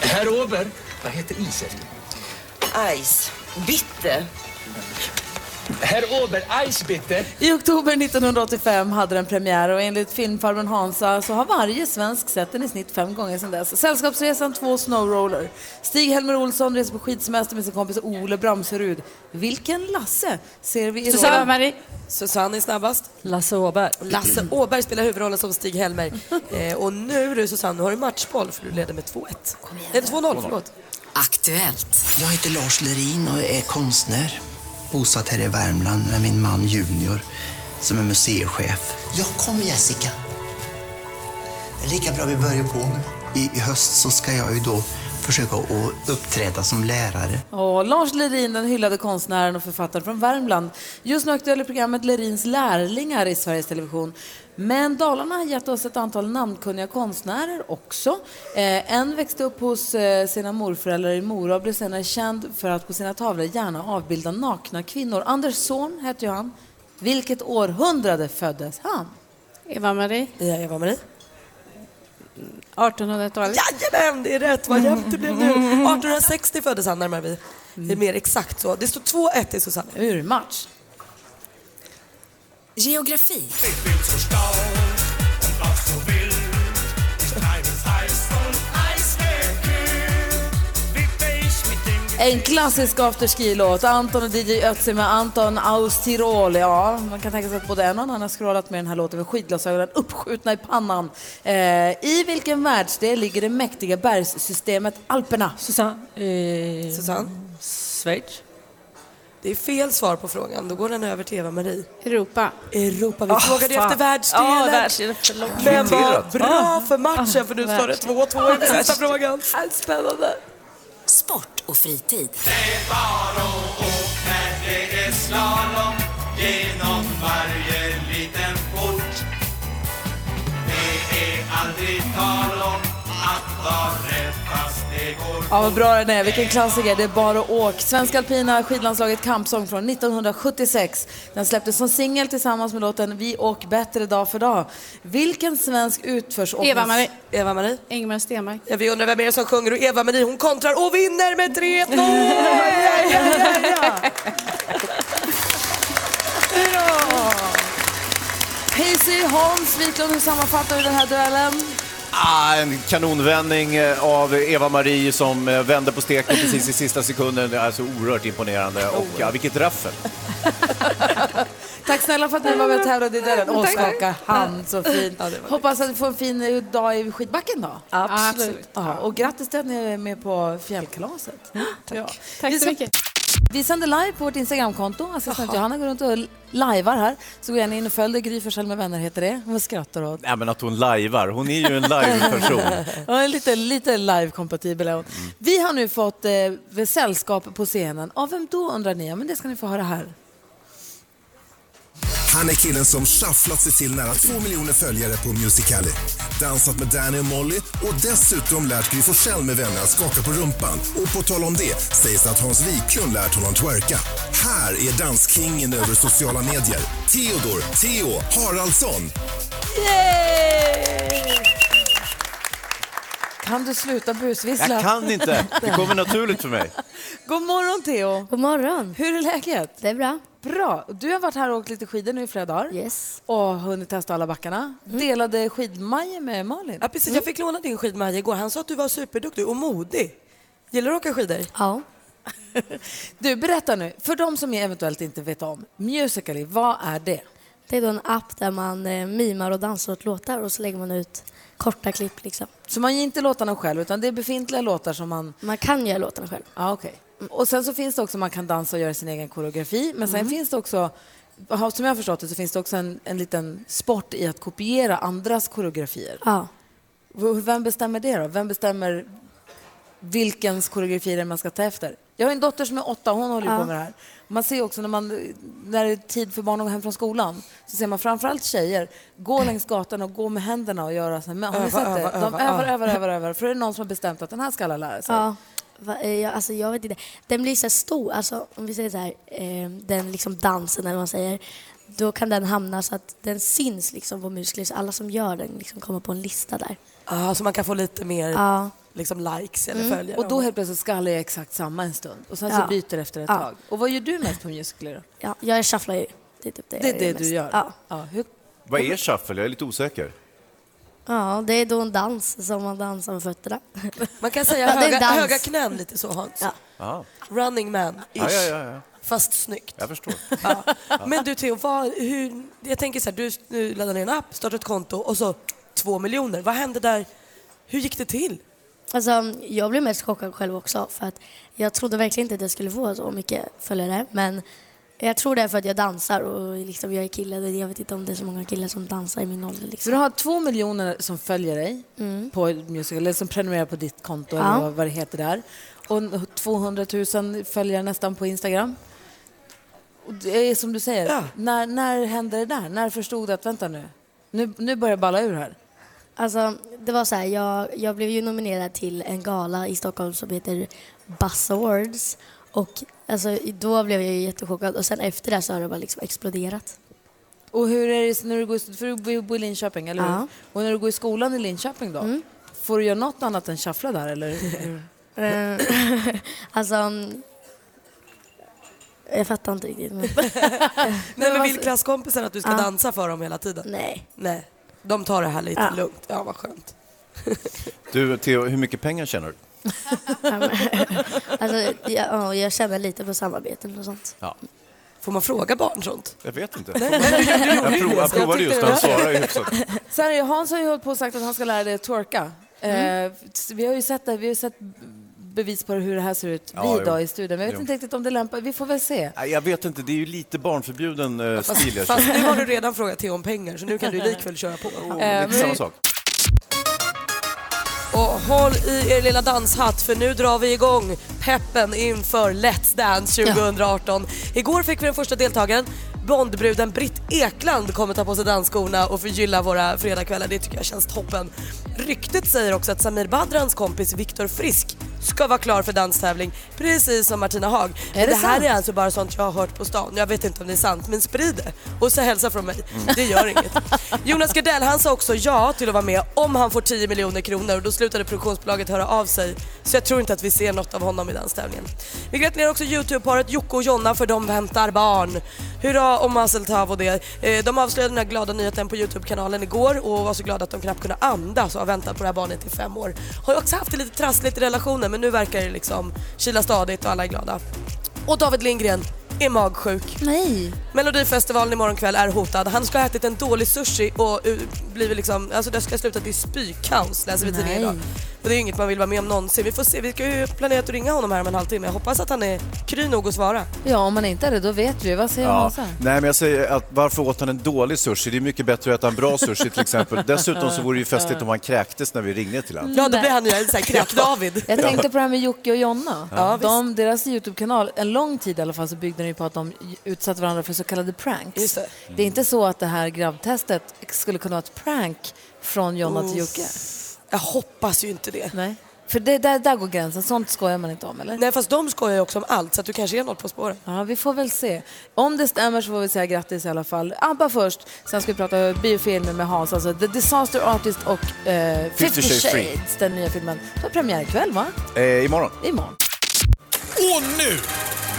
S15: Herr Ober, vad heter isefter?
S16: Ice. Bitter.
S15: Herr Ober, Ice bitte.
S5: I oktober 1985 hade den premiär och enligt filmfarbrorn Hansa så har varje svensk sett den i snitt fem gånger sedan dess. Sällskapsresan 2 Snowroller. Stig-Helmer Olsson reser på skidsemester med sin kompis Ole Bramserud. Vilken Lasse ser vi i rollen?
S13: Marie.
S7: Susanne är snabbast.
S12: Lasse Åberg.
S7: Lasse Åberg spelar huvudrollen som Stig-Helmer. Eh, och nu du Susanne, nu har du matchboll för du leder med 2-1. Eller 2-0, förlåt.
S14: Aktuellt.
S16: Jag heter Lars Lerin och är konstnär. Bosatt här i Värmland med min man Junior som är museichef. Jag kommer Jessica. Det är lika bra vi börjar på nu. I, I höst så ska jag ju då försöka att uppträda som lärare.
S5: Och Lars Lerin, den hyllade konstnären och författaren från Värmland. Just nu aktuell i programmet Lerins lärlingar i Sveriges Television. Men Dalarna har gett oss ett antal namnkunniga konstnärer också. Eh, en växte upp hos eh, sina morföräldrar i Mora och blev senare känd för att på sina tavlor gärna avbilda nakna kvinnor. Anders Zorn hette ju han. Vilket århundrade föddes han?
S13: Eva-Marie.
S7: Ja, Eva-Marie.
S13: 1800-talet.
S7: Jajamän, det är rätt. Vad jämnt det blev nu. 1860 föddes han, närmar vi. Det är mer exakt så. Det står 2-1 till Susanne.
S5: Urmatch.
S14: Geografi.
S5: En klassisk afterski-låt. Anton och DJ Ötzi med Anton aus Tirol. Ja, man kan tänka sig att både en och en annan har scrollat med den här låten med skidglasögonen uppskjutna i pannan. Eh, I vilken världsdel ligger det mäktiga bergssystemet Alperna?
S12: Susanne. Eh,
S7: Susanne?
S12: Schweiz?
S7: Det är fel svar på frågan. Då går den över till Eva-Marie.
S13: Europa.
S7: Europa. Vi
S13: Ah,
S7: frågade
S13: fan.
S7: efter världsdelen.
S13: Ja, världsdelen, förlåt.
S7: Men vad
S13: Irriterat.
S7: bra för matchen för nu står det 2-2 i den sista
S14: Världsdelen.
S7: frågan. Spännande.
S14: Sport och fritid.
S15: Det är slalom genom varje liten port. Det är aldrig tal om att vara rädd fast det går
S5: Ja, vad bra den är. Vilken klassiker. Det är bara att åk. Svenska alpina skidlandslaget kampsång från 1976. Den släpptes som singel tillsammans med låten Vi åk bättre dag för dag. Vilken svensk utförsåknings... (laughs)
S13: Eva-Marie.
S7: Eva-Marie.
S13: Ingmar Stenmark.
S7: Ja, vi undrar vem är det som sjunger och Eva-Marie hon kontrar och vinner med 3-2! Ja, ja, ja, ja.
S5: Bra! Hazy, Hans Wiklund, hur sammanfattar du den här duellen?
S6: Ah, en kanonvändning eh, av Eva-Marie som eh, vände på steken precis i sista sekunden. Det är så oerhört imponerande. Och ja, vilket raffel.
S5: Tack snälla för att ni var med och tävlade i duellen. Och
S13: Tack.
S5: skaka hand, så fint.
S13: Ja, det var
S5: Hoppas att du får en fin eh, dag i skidbacken då.
S13: Absolut. Absolut.
S5: Ja, och grattis till att ni är med på fjällkalaset. Tack. Ja.
S13: Tack
S5: Vi
S13: så
S5: ska-
S13: mycket.
S5: Vi sänder live på vårt Instagramkonto. Assistent
S13: Jaha.
S5: Johanna går runt och lajvar här. Så går gärna in och följ det. Gry Forssell med vänner heter det. Hon skrattar åt.
S6: Nej, men att hon lajvar. Hon är ju
S5: (laughs)
S6: en live-person.
S5: Hon är lite, lite live-kompatibel. är hon.
S13: Mm.
S5: Vi har nu fått eh, sällskap på scenen. Av vem då undrar ni? Ja, men det ska ni få höra här.
S17: Han är killen som schafflat sig till nära två miljoner följare på Musical.ly, dansat med Danny och Molly och dessutom lärt Gry Forssell med vänner att skaka på rumpan. Och på tal om det sägs att Hans Wiklund lärt honom twerka. Här är danskingen över sociala medier, Theodor Theo Haraldsson.
S5: Kan du sluta busvissla?
S6: Jag kan inte. Det kommer naturligt
S5: (laughs)
S6: för mig.
S5: God morgon, Theo. God morgon. Hur är läget? Det är bra. Bra. Du har varit här och åkt lite skidor nu i flera dagar. Yes. Mm. Och hunnit testa alla backarna. Delade skidmajer med Malin.
S7: Ja, precis. Jag fick låna din skidmaja igår. Han sa att du var superduktig och modig. Gillar du att åka skidor?
S5: Ja. (laughs) Du, berätta nu. För de som eventuellt inte vet om, Musical.ly, vad är det?
S18: Det är då en app där man eh, mimar och dansar åt låtar och så lägger man ut korta klipp liksom.
S5: Så man ger inte låtarna själv, utan det är befintliga låtar som man...
S18: Man kan göra låtarna själv.
S5: Ja, okej. Mm, Och sen så finns det också, man kan dansa och göra sin egen koreografi, men sen
S18: Mm.
S5: finns det också, ha- som jag har förstått det, så finns det också en, en liten sport i att kopiera andras koreografier.
S18: Ja.
S5: V- Vem bestämmer det då? Vem bestämmer vilkens koreografi det är man ska ta efter? Jag har en dotter som är åtta, hon håller ju
S18: Ja.
S5: på med det här. Man ser också när, man, när det är tid för barn att gå hem från skolan, så ser man framförallt tjejer gå längs gatan och gå med händerna och göra så här. Men har ni
S18: Öva,
S5: sett det?
S18: öva,
S5: De
S18: öva,
S5: övar,
S18: ja.
S5: övar, övar, övar. För det är någon som har bestämt att den här ska alla lära sig.
S18: Ja. Va, eh, jag, alltså, jag vet inte. Den blir så här stor, alltså, om vi säger så här, eh, den liksom dansen eller vad man säger. Då kan den hamna så att den syns liksom på muskler så alla som gör den liksom kommer på en lista där.
S7: Ja, så man kan få lite mer
S18: Ja.
S7: liksom, likes eller
S18: Mm.
S7: följare.
S5: Och då helt plötsligt ska alla göra exakt samma en stund. Och sen så
S18: Ja.
S5: byter det efter ett
S18: Ja.
S5: tag. Och vad gör du mest på Musical.ly då?
S18: Ja, jag shufflar ju. Det är typ det
S5: Det är
S18: jag
S5: det
S18: mest.
S5: du gör?
S18: Ja.
S5: Ja, hur,
S6: Vad är shuffle? Jag är lite osäker.
S18: ja, det är då en dans som man dansar
S5: (laughs)
S18: med fötterna.
S7: Man kan säga
S18: Ja, det är
S7: höga,
S18: dans.
S7: höga knän lite så Hans.
S6: Ja,
S7: Running man
S6: ja, ja, ja.
S7: Fast snyggt.
S6: Jag förstår.
S7: Men du Theo, vad, hur, jag tänker så här, du nu laddar ner en app, startar ett konto och så två miljoner. Vad hände där? Hur gick det till?
S18: Alltså, jag blev mest chockad själv också för att jag trodde verkligen inte att jag skulle få så mycket följare men jag tror det är för att jag dansar och liksom jag är kille. Jag vet inte om det är så många killar som dansar i min ålder.
S5: så
S18: Liksom.
S5: du har två miljoner som följer dig på Musical.ly, eller som prenumererar på ditt konto
S18: Ja.
S5: eller vad- vad det heter där. Och 200 000 följare nästan på Instagram. Och det är som du säger, när, när hände det där? När förstod du att, vänta nu, nu, nu börjar jag balla ur här.
S18: Alltså, det var så här, jag, jag blev ju nominerad till en gala i Stockholm som heter Buzz Awards och alltså, då blev jag ju jättechockad och sen efter det så har det bara liksom exploderat.
S5: Och hur är det när du går, i- för du bor ju i Linköping, eller hur?
S18: Ja. Mm.
S5: Och när du går i skolan i Linköping då? Får du göra något annat än shuffla där,
S18: (laughs)
S5: eller?
S18: Eh, (laughs) alltså, mm, jag fattar inte riktigt. Men...
S7: Nej, men
S18: vad-
S7: vill klasskompisen att du ska
S18: alltså- Ja.
S7: dansa för dem hela tiden?
S18: Nej.
S7: Nej. De tar det här lite
S18: Ja.
S7: lugnt. Ja, vad skönt.
S6: Du, Theo, hur mycket pengar tjänar du?
S18: alltså, jag, ja, jag känner lite på samarbeten och sånt.
S6: Ja.
S7: Får man fråga barn sånt?
S6: Jag
S5: (laughs)
S6: vet inte.
S7: Nej, men du-
S6: jag,
S7: du gjorde ju
S6: prov,
S7: det.
S6: jag
S7: Jag
S6: provade
S7: tyckte
S6: just
S7: det
S6: det. Han
S7: var-
S6: svarade ju hyfsat.
S5: Så här, är det, Hans har ju hållit på och sagt att han ska lära dig att twerka. Eh,
S18: Mm.
S5: vi har ju sett det, vi har ju sett bevis på hur det här ser ut
S6: Ja,
S5: vi
S6: jo.
S5: idag i studion. Men jag vet
S6: Jo.
S5: inte riktigt om det lämpar. Vi får väl se.
S6: Nej, jag vet inte, det är ju lite barnförbjuden eh, stil jag
S7: Fast
S6: kör.
S7: nu har du redan frågat till om pengar så nu kan du likväl köra på.
S6: Oh, det är samma sak.
S7: Och håll i er lilla danshatt för nu drar vi igång peppen inför Let's Dance 2018. Igår fick vi den första deltagaren. Bondbruden Britt Ekland kommer ta på sig dansskorna och förgylla våra fredagskvällar. Det tycker jag känns toppen. Ryktet säger också att Samir Badrans kompis Viktor Frisk ska vara klar för danstävling precis som Martina Haag. Men
S5: Är det
S7: det här
S5: sant?
S7: är alltså bara sånt jag har hört på stan. Jag vet inte om det är sant men sprid det. Och så hälsa från mig. Det gör inget. Jonas Gardell han sa också ja till att vara med om han får 10 miljoner kronor och då slutade produktionsbolaget höra av sig. Så jag tror inte att vi ser något av honom i danstävlingen. Vi gratulerar också Youtube-paret Jocke och Jonna för de väntar barn. Hurra om Hasseltav och det. Eh, De avslöjade den här glada nyheten på Youtube-kanalen igår och var så glada att de knappt kunde andas och har väntat på det här barnet i fem år. Har ju också haft det lite trassligt i relationen men nu verkar det liksom kila stadigt och alla är glada. Och David Lindgren är magsjuk.
S4: Nej.
S7: Melodifestivalen imorgon kväll är hotad. Han ska ha ätit en dålig sushi och uh, blivit liksom, alltså det ska ha slutat i spykaos läser vi i tidningen
S5: Nej.
S7: idag. Och det är ju inget man vill vara med om någonsin. Vi får se, vi ska ju planera att ringa honom här om en halvtimme. Jag hoppas att han är kry nog att svara.
S4: Ja, om man inte är det, då vet vi. Vad säger
S6: Ja.
S4: Hansa?
S6: Nej, men jag säger att varför åt han en dålig sushi? Det är mycket bättre att äta en bra sushi till exempel. Dessutom så vore det ju festligt om han kräktes när vi ringde till honom.
S7: Ja, då blir han ju en sån
S4: (laughs)
S7: här kräk-David.
S4: Jag tänkte på det här med Jocke och Jonna.
S6: Ja,
S4: de, deras YouTube-kanal, en lång tid i alla fall, så byggde den ju på att de utsatte varandra för så kallade pranks.
S7: Just det.
S4: det är inte så att det här grabbtestet skulle kunna vara ett prank från Jonna till
S7: Oh.
S4: Jocke.
S7: Jag hoppas ju inte det.
S4: Nej. För det, där, där går gränsen, sånt skojar man inte om eller?
S7: Nej fast de skojar ju också om allt så att du kanske är något på spåren.
S4: Ja, vi får väl se. Om det stämmer så får vi säga grattis i alla fall. ABBA först, sen ska vi prata biofilmer med Hans, alltså The Disaster Artist och eh, 50
S6: Fifty
S4: Shades,
S6: Shades Free.
S4: den nya filmen. Det var premiär ikväll va?
S6: Eh, imorgon.
S4: Imorgon.
S19: Och nu,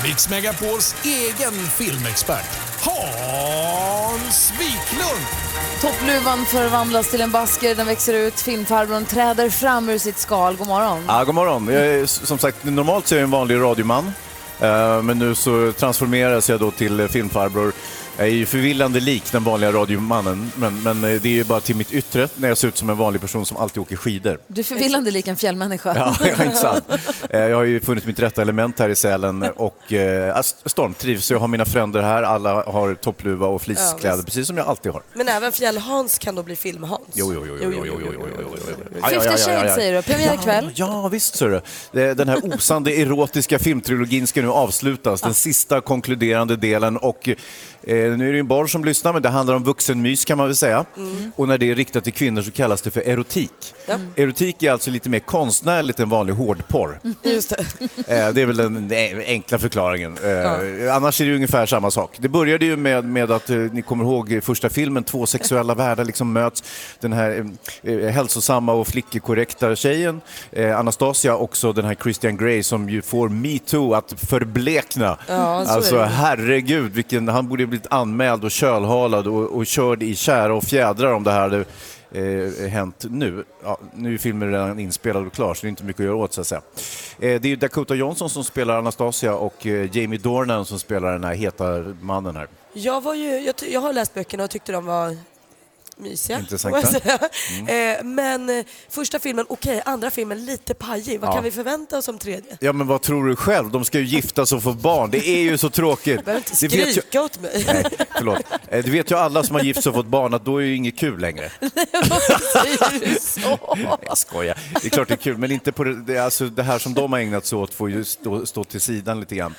S19: Mix Megapols egen filmexpert Hans Wiklund!
S4: Toppluvan förvandlas till en basker, den växer ut, filmfarbrorn träder fram ur sitt skal. God morgon.
S6: Ja, god morgon. Jag är, s- som sagt, normalt så är jag en vanlig radioman. Eh, Men nu så transformeras jag då till eh, filmfarbror. Jag är ju förvillande lik den vanliga radiomannen, men, men eh, det är ju bara till mitt yttre när jag ser ut som en vanlig person som alltid åker skidor.
S4: Du är förvillande lik en fjällmänniska. (laughs)
S6: Ja, ja, inte sant. Eh, Jag har ju funnit mitt rätta element här i Sälen och eh, ast- stormtrivs. Så Jag har mina fränder här, alla har toppluva och
S7: Ja,
S6: fleecekläder,
S7: visst.
S6: precis som jag alltid har.
S7: Men även Fjäll-Hans kan då bli Film-Hans.
S6: Jo, jo, jo, jo, jo, jo, jo, jo, jo, jo, jo. Aj, aj,
S4: Fifty
S6: aj, aj,
S4: Shades
S6: aj.
S4: säger du, premiär
S6: Ja,
S4: ikväll.
S6: Ja, visst ser du. Det- Den här osande erotiska filmtrilogin ska nu avslutas. Den sista konkluderande delen och eh, nu är det ju en barn som lyssnar men det handlar om vuxenmys kan man väl säga.
S15: Mm.
S6: Och när det är riktat till kvinnor så kallas det för erotik. Erotik är alltså lite mer konstnärligt än vanlig hårdporr.
S7: Just det.
S6: Eh, Det är väl den eh, enkla förklaringen. Eh, Annars är det ju ungefär samma sak. Det började ju med, med att, eh, ni kommer ihåg eh, första filmen,
S15: (laughs)
S6: två sexuella världar liksom möts. Den här eh, eh, hälsosamma och flickekorrekta tjejen, eh, Anastasia, också den här Christian Grey som ju får metoo att förblekna.
S15: Ja, så är det.
S6: alltså herregud, vilken, han borde ju blivit anmäld och kölhalad och, och körd i kära och fjädrar om det här hade eh, hänt nu. Ja, nu är filmen redan inspelad och klar, så det är inte mycket att göra åt. Så att säga. Eh, det är ju Dakota Johnson som spelar Anastasia och eh, Jamie Dornan som spelar den här heta mannen här.
S7: Jag, var ju, jag, ty- jag har läst böckerna och tyckte de var mysiga.
S6: Intressanta. Mm.
S7: får jag säga. Eh, Men eh, första filmen okej, andra filmen lite pajig. Vad
S6: Ja.
S7: kan vi förvänta oss om tredje?
S6: Ja, men vad tror du själv? De ska ju giftas och få barn. Det är ju så tråkigt.
S7: Du behöver inte
S6: Det vet ju-
S7: skrika åt mig. (laughs)
S6: Nej, förlåt. Eh, Det vet ju alla som har gift sig och fått barn att då är det ju inget kul längre. Nej, Jag skojar. Det är klart det är kul, men inte på det, det, alltså det här som de har ägnat sig åt får ju stå, stå till sidan lite grann.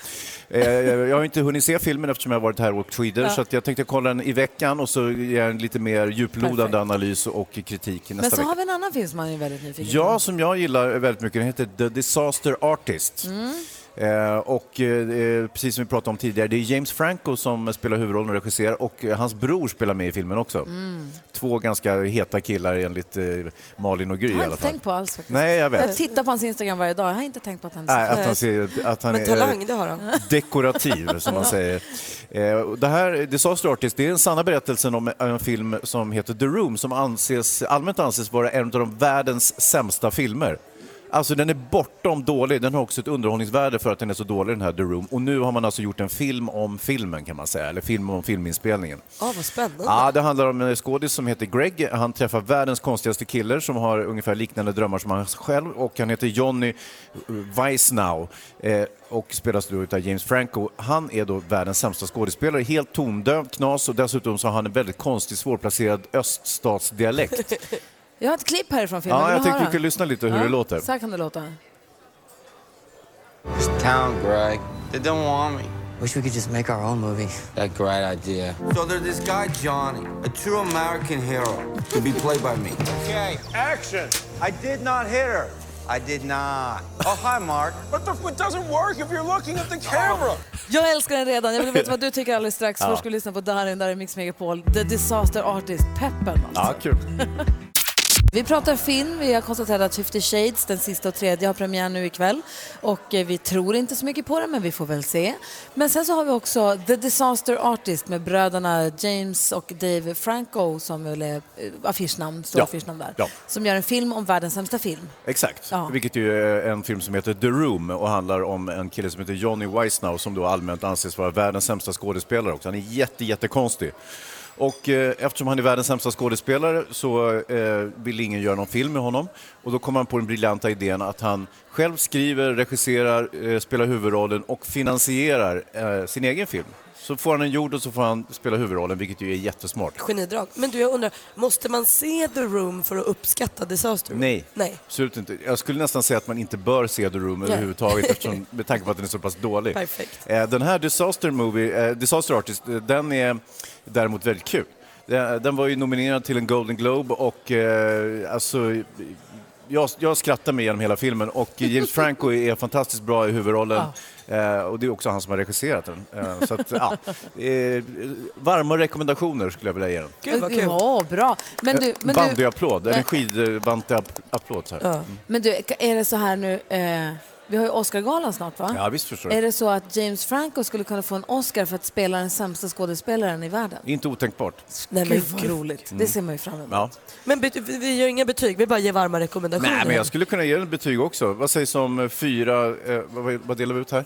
S6: Eh, jag har inte hunnit se filmen eftersom jag har varit här och åkt skidor,
S4: Ja.
S6: så att jag tänkte kolla den i veckan och så ge en lite mer djuplodande analys och kritik nästa
S4: Men så
S6: vecka.
S4: har vi en annan film som man är väldigt nyfiken
S6: Ja, som jag gillar väldigt mycket, den heter The Disaster Artist.
S4: Mm.
S6: Eh, och eh, precis som vi pratade om tidigare, det är James Franco som spelar huvudrollen och regisserar och eh, hans bror spelar med i filmen också.
S4: Mm.
S6: Två ganska heta killar enligt eh, Malin och Gry
S4: Jag
S6: i
S4: har
S6: alla
S4: inte
S6: fall.
S4: tänkt på alls faktiskt.
S6: Nej, jag vet.
S4: Jag tittar på hans Instagram varje dag. Jag har inte tänkt på att han är så
S6: Nej, att
S4: fin.
S6: han, ser, att han
S4: Men
S6: är
S4: eh, talang,
S6: eh,
S4: det har han.
S6: dekorativ, som man
S4: Ja.
S6: säger. Eh, och Det här, Disaster Artist, det är den sanna berättelsen om en film som heter The Room som anses, allmänt anses vara en av de världens sämsta filmer. Alltså den är bortom dålig. Den har också ett underhållningsvärde för att den är så dålig den här The Room. Och nu har man alltså gjort en film om filmen kan man säga, eller film om filminspelningen.
S7: Ja, vad spännande.
S6: Ja, det handlar om en skådis som heter Greg. Han träffar världens konstigaste killer som har ungefär liknande drömmar som han själv och han heter Johnny Weissnau eh, och spelas då av James Franco. Han är då världens sämsta skådespelare, helt tondöv, knas och dessutom så har han en väldigt konstig svårplacerad öststatsdialekt.
S5: Jag har ett klipp härifrån filmen.
S6: Ja,
S5: Vill
S6: jag
S5: du
S6: tänkte vi
S5: höra?
S6: kunde lyssna lite hur
S5: Ja,
S6: det låter.
S5: Så här kan det låta.
S8: It's town, Greg. They don't want me. Wish we could just make our own movie. That great idea. So there's this guy, Johnny, a true American hero, to be played by me.
S16: Okay, action. I did not hit her.
S8: I did not. Oh, hi, Mark.
S16: But the, it doesn't work if you're looking at the camera.
S5: Jag älskar den redan. Jag vill veta vad du tycker alldeles strax.
S16: Ja.
S5: Först ska vi lyssna på Darin, där är Mix Megapol. The Disaster Artist-peppen.
S6: Ja, kul.
S5: (laughs) Vi pratar film. Vi har konstaterat att 50 Shades, den sista och tredje, har premiär nu ikväll. Och eh, vi tror inte så mycket på den, men vi får väl se. Men sen så har vi också The Disaster Artist med bröderna James och Dave Franco som väl är eh, affischnamn, stora
S6: Ja.
S5: affischnamn där.
S6: Ja.
S5: Som gör en film om världens sämsta film.
S6: Exakt,
S5: Ja.
S6: vilket ju är en film som heter The Room och handlar om en kille som heter Johnny Weissnau som då allmänt anses vara världens sämsta skådespelare också. Han är jätte, jättekonstig. Och eh, eftersom han är världens sämsta skådespelare så eh, vill ingen göra någon film med honom. Och då kommer han på den briljanta idén att han själv skriver, regisserar, eh, spelar huvudrollen och finansierar eh, sin egen film. Så får han en gjord och så får han spela huvudrollen, vilket ju är jättesmart.
S7: Genidrag. Men du, jag undrar, måste man se The Room för att uppskatta Disaster Room?
S6: Nej.
S7: Nej.
S6: absolut inte. Jag skulle nästan säga att man inte bör se The Room
S7: Nej.
S5: (laughs)
S6: överhuvudtaget eftersom, med tanke på att den är så pass dålig.
S7: Perfekt.
S6: Eh, Den här Disaster, Movie, eh, Disaster Artist, eh, den är däremot väldigt kul. Den den var ju nominerad till en Golden Globe och eh, alltså, jag, jag skrattar mig igenom hela
S5: (laughs)
S6: filmen och James Franco är fantastiskt bra i huvudrollen. Eh, och det är också han som har regisserat den. Eh, så att, ja, eh, varma rekommendationer skulle jag vilja ge den.
S7: Gud, vad kul.
S5: Ja, bra. Men du, men du,
S6: Bandyapplåd, eller
S5: Men-
S6: skidbandyapplåd. Så här.
S5: Ja. Men du, är det så här nu, eh, vi har ju Oscargalan snart va?
S6: Ja, visst förstår du.
S5: Är det så att James Franco skulle kunna få en Oscar för att spela den sämsta skådespelaren i världen?
S6: Inte otänkbart.
S7: Nej, men
S5: Gud vad
S7: gud.
S5: roligt,
S6: Mm.
S5: det ser man ju fram emot.
S6: Ja.
S7: Men bet- vi vi gör inga betyg, vi bara ger varma rekommendationer.
S6: Nej, men jag skulle kunna ge den betyg också. Vad sägs om eh, fyra, eh, vad, vad delar vi ut här?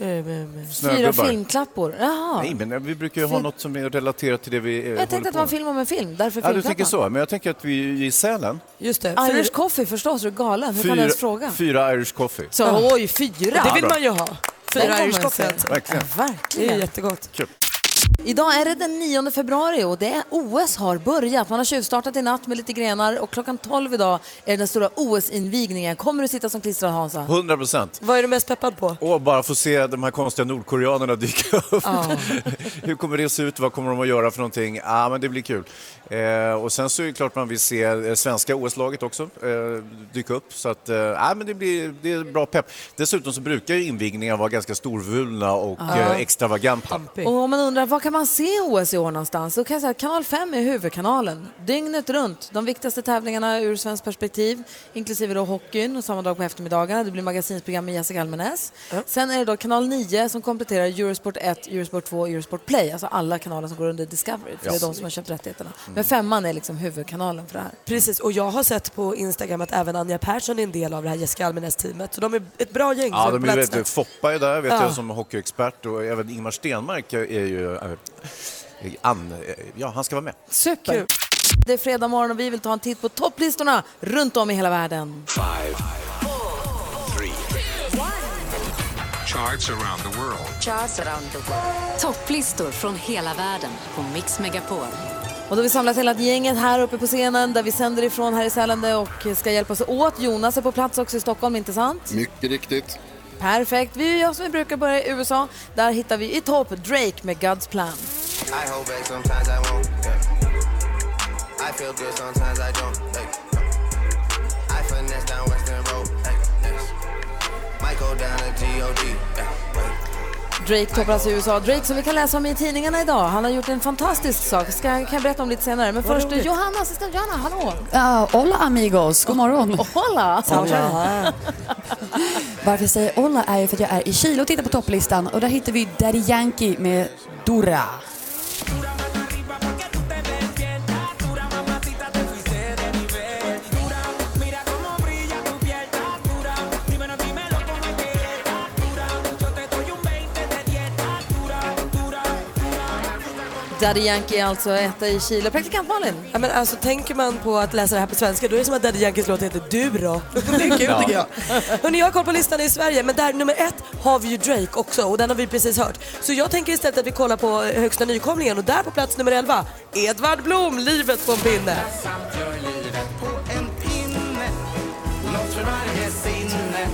S5: Fyra eh.
S6: Snögubbar.
S5: filmklappor, jaha.
S6: Nej, men eh, vi brukar ju ha
S5: Fy-
S6: något som är relaterat till det vi eh, håller
S5: jag tänkte att det
S6: på
S5: var en
S6: med.
S5: film om en film, därför
S6: Ja, du
S5: filmklappar.
S6: tänker så. Men jag tänker att vi i Sälen,
S7: Just det.
S5: Irish coffee förstås, är du galen? Hur kan du ens fråga?
S6: fyra, fyra Irish coffee.
S5: Så,
S6: Ja.
S5: oj, fyra!
S6: Det vill man ju
S7: ha.
S5: Den
S7: Fyra
S5: kommer
S7: Irish
S5: sen.
S7: coffee.
S6: Verkligen.
S5: Verkligen.
S7: Det är jättegott.
S6: Kul.
S5: Idag är det den 9 februari och det är OS har börjat. Man har tjuvstartat i natt med lite grenar och klockan 12 idag är den stora OS-invigningen. Kommer du sitta som klistrad Hansa?
S6: 100 procent.
S7: Vad är du mest peppad på?
S6: Och bara få se de här konstiga nordkoreanerna dyka upp.
S5: Ja.
S6: (laughs) Hur kommer det se ut? Vad kommer de att göra för någonting? Ja, ah, men det blir kul. Eh, och sen så är det klart man vill se eh, svenska OS-laget också eh, dyka upp. Så att, eh, ah, men det, blir, det är bra pepp. Dessutom så brukar ju invigningar vara ganska storvulna och
S5: Ja.
S6: eh, extravaganta.
S5: Och om man undrar var kan man se OS i år någonstans? Då kan jag säga att kanal 5 är huvudkanalen. Dygnet runt. De viktigaste tävlingarna ur svenskt perspektiv, inklusive då hockeyn och samma dag på eftermiddagarna. Det blir magasinsprogram med Jessica Almenäs. Sen är det då kanal 9 som kompletterar Eurosport 1, Eurosport 2 och Eurosport Play. Alltså alla kanaler som går under Discovery, för
S7: Ja.
S5: det är de som har köpt rättigheterna. Men femman är liksom huvudkanalen för det här.
S7: Precis, och jag har sett på Instagram att även Anja Persson är en del av det här Jessica Almenäs-teamet. Så de är ett bra gäng som
S6: Ja, de
S7: är på
S6: är
S7: plats
S6: väldigt,
S7: nu.
S6: Foppa är där, vet
S7: Ja.
S6: jag, som hockeyexpert och även Ingmar Stenmark är ju... eh, An, eh, ja, han ska vara med.
S5: Super! Det är fredag morgon och vi vill ta en titt på topplistorna runt om i hela världen.
S20: Five, three. Charts around the world.
S21: Topplistor från hela världen på Mix Megapol.
S5: Och då har vi samlat hela gänget här uppe på scenen där vi sänder ifrån här i Sälen och ska hjälpas åt. Jonas är på plats också i Stockholm, inte sant?
S22: Mycket riktigt.
S5: Perfekt. Vi gör som vi brukar börja i USA. Där hittar vi i topp Drake med God's Plan.
S22: I hold back sometimes I won't. yeah. I feel good sometimes I don't. yeah. I finesse down Western Road. yeah, yeah. Might go down to G.O.D. yeah, yeah.
S5: Drake toppar alltså i USA. Drake som vi kan läsa om i tidningarna idag. Han har gjort en fantastisk sak. Ska, kan jag berätta om lite senare. Men
S1: Vad
S5: först
S1: roligt.
S5: Johanna, assistent Johanna, hallå!
S1: Ah, hola amigos, god morgon.
S5: Hola!
S1: Hola. Varför jag säger hola är ju för att jag är i Chile och tittar på topplistan och där hittar vi Daddy Yankee med Dura.
S23: Mira cómo brilla tu piel tan dura.
S5: Daddy Yankee är alltså etta i Chile. Praktikant Malin?
S7: Ja, men alltså, tänker man på att läsa det här på svenska då är det som att Daddy Yankees låt heter Du då? (laughs) Det är kul
S24: Ja.
S7: tycker jag. Hörrni, jag har koll på listan i Sverige men där nummer ett har vi ju Drake också och den har vi precis hört. Så jag tänker istället att vi kollar på eh, högsta nykomlingen och där på plats nummer 11, Edvard Blom, Livet på en pinne.
S24: Samt gör livet på en pinne Något för varje sinne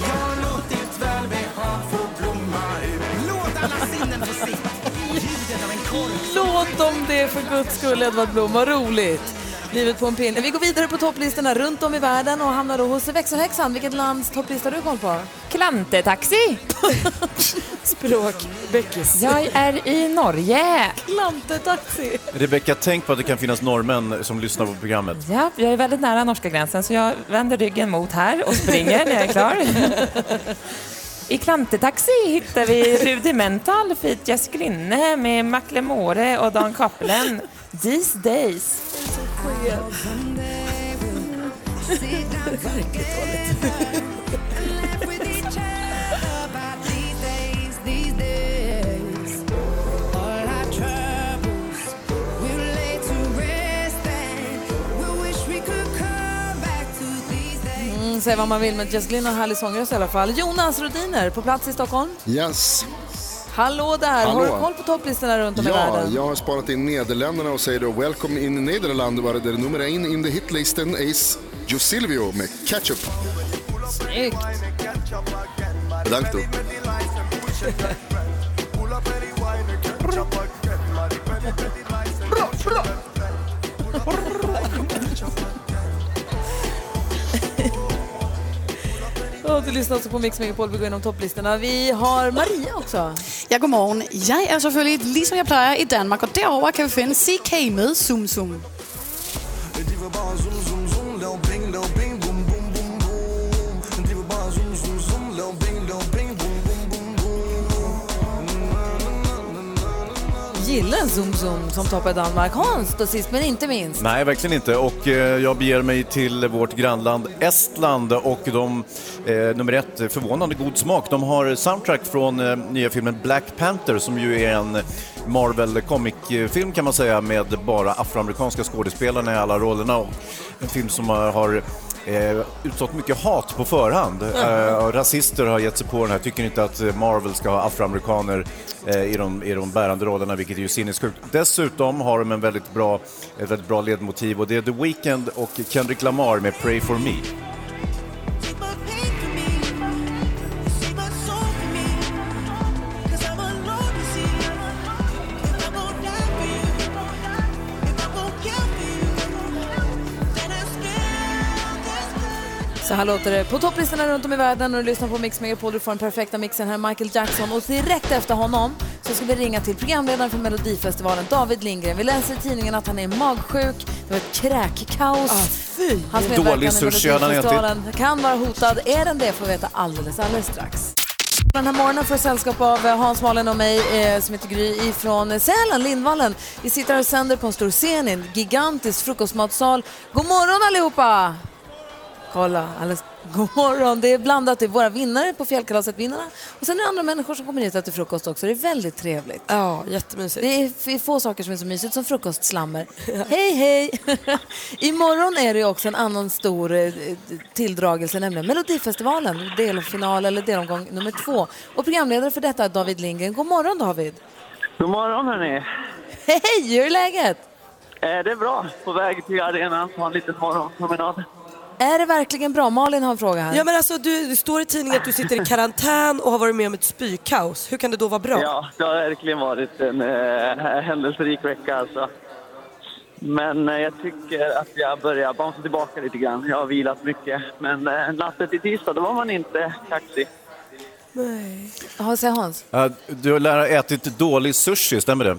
S24: Jag har låtit välbehag få blomma ut Låt alla sinnen få sitt Ljuden av en kork
S5: Låt dem det för guds skull, Edvard Blom. Vad roligt. Livet på en pinne. Vi går vidare på topplistorna runt om i världen och hamnar då hos växelhäxan. Vilket lands topplista har du koll på?
S1: Klantetaxi!
S7: Språk, Beckis.
S1: Jag är i Norge.
S5: Klantetaxi!
S6: Rebecka, tänk på att det kan finnas norrmän som lyssnar på programmet.
S1: Ja, jag är väldigt nära norska gränsen så jag vänder ryggen mot här och springer när jag är klar. I Klantetaxi hittar vi Rudimental feat. Jess Grinne med Macklemore och Dan Kaplan. These days.
S5: Mm, säg vad man vill, men Jess Glynn har härlig sångröst i alla fall. Jonas Rodiner på plats i Stockholm.
S16: Yes.
S5: Hallå där!
S16: Hallå.
S5: Har du koll på topplistorna runt om i
S16: Ja,
S5: världen?
S16: jag har sparat in Nederländerna och säger då Welcome in Nederland var det nummer en in the hitlisten is Jo Silvio med Ketchup.
S5: Snyggt!
S16: Bedankt du.
S5: Och du lyssnar också på Mix Megapol. Vi går igenom topplistorna. Vi har Maria också.
S25: Ja, godmorgen. Jeg er selvfølgelig, ligesom jeg plejer, i Danmark, og derover kan vi finde CK med Zoom Zoom.
S5: Gillar en Zoom Zoom som toppar i Danmark. Hans då sist men inte minst.
S6: Nej, verkligen inte. Och eh, jag beger mig till vårt grannland Estland och de, eh, nummer ett, förvånande god smak. De har soundtrack från eh, nya filmen Black Panther som ju är en Marvel Comic-film kan man säga med bara afroamerikanska skådespelarna i alla rollerna. Och en film som har- har eh, utstått mycket hat på förhand. Eh, och rasister har gett sig på den här, tycker inte att eh, Marvel ska ha afroamerikaner eh, i, de, i de bärande rollerna, vilket är ju sinnessjukt. Dessutom har de en väldigt bra, ett väldigt bra ledmotiv och det är The Weeknd och Kendrick Lamar med Pray for me.
S5: Så här låter det på topplistorna runt om i världen och du lyssnar på Mix Megapol. Du får den perfekta mixen här, Michael Jackson. Och direkt efter honom så ska vi ringa till programledaren för Melodifestivalen, David Lindgren. Vi läser i tidningen att han är magsjuk. Det var ett kräkkaos. Hans medverkan
S6: Ah, Dålig
S5: i
S6: sushi hade han ätit.
S5: Melodifestivalen kan vara hotad. Är den det får vi veta alldeles, alldeles strax. Den här morgonen får jag sällskap av eh, Hans Malin och mig eh, som heter Gry ifrån eh, Sälen, Lindvallen. Vi sitter här och sänder på en stor scen i en gigantisk frukostmatsal. God morgon allihopa! Kolla, alldeles, god morgon. Det är blandat. Det är våra vinnare på fjällkalaset, vinnarna. Och sen är det andra människor som kommer hit och äter frukost också. Det är väldigt trevligt.
S7: Ja, jättemysigt.
S5: Det är f- få saker som är så mysigt som frukostslammer. Hej, hej! (laughs) Imorgon är det ju också en annan stor eh, tilldragelse, nämligen Melodifestivalen. Delfinal eller delomgång nummer två. Och programledare för detta är David Lindgren. God morgon David!
S8: God morgon hörni!
S5: Hej, hur är läget?
S8: Eh, det är bra. På väg till arenan, ta en liten morgonpromenad.
S5: Är det verkligen bra? Malin har en fråga här.
S7: Ja men alltså du, det står i tidningen att du sitter i karantän och har varit med om ett spykaos. Hur kan det då vara bra?
S8: Ja, det har verkligen varit en eh, händelserik vecka alltså. Men eh, jag tycker att jag börjar bamsa tillbaka lite grann. Jag har vilat mycket. Men eh, natten till tisdag, då var man inte kaxig.
S5: Nej. Ja, säg Hans.
S6: Eh, Du lär ha ätit dålig sushi, stämmer det?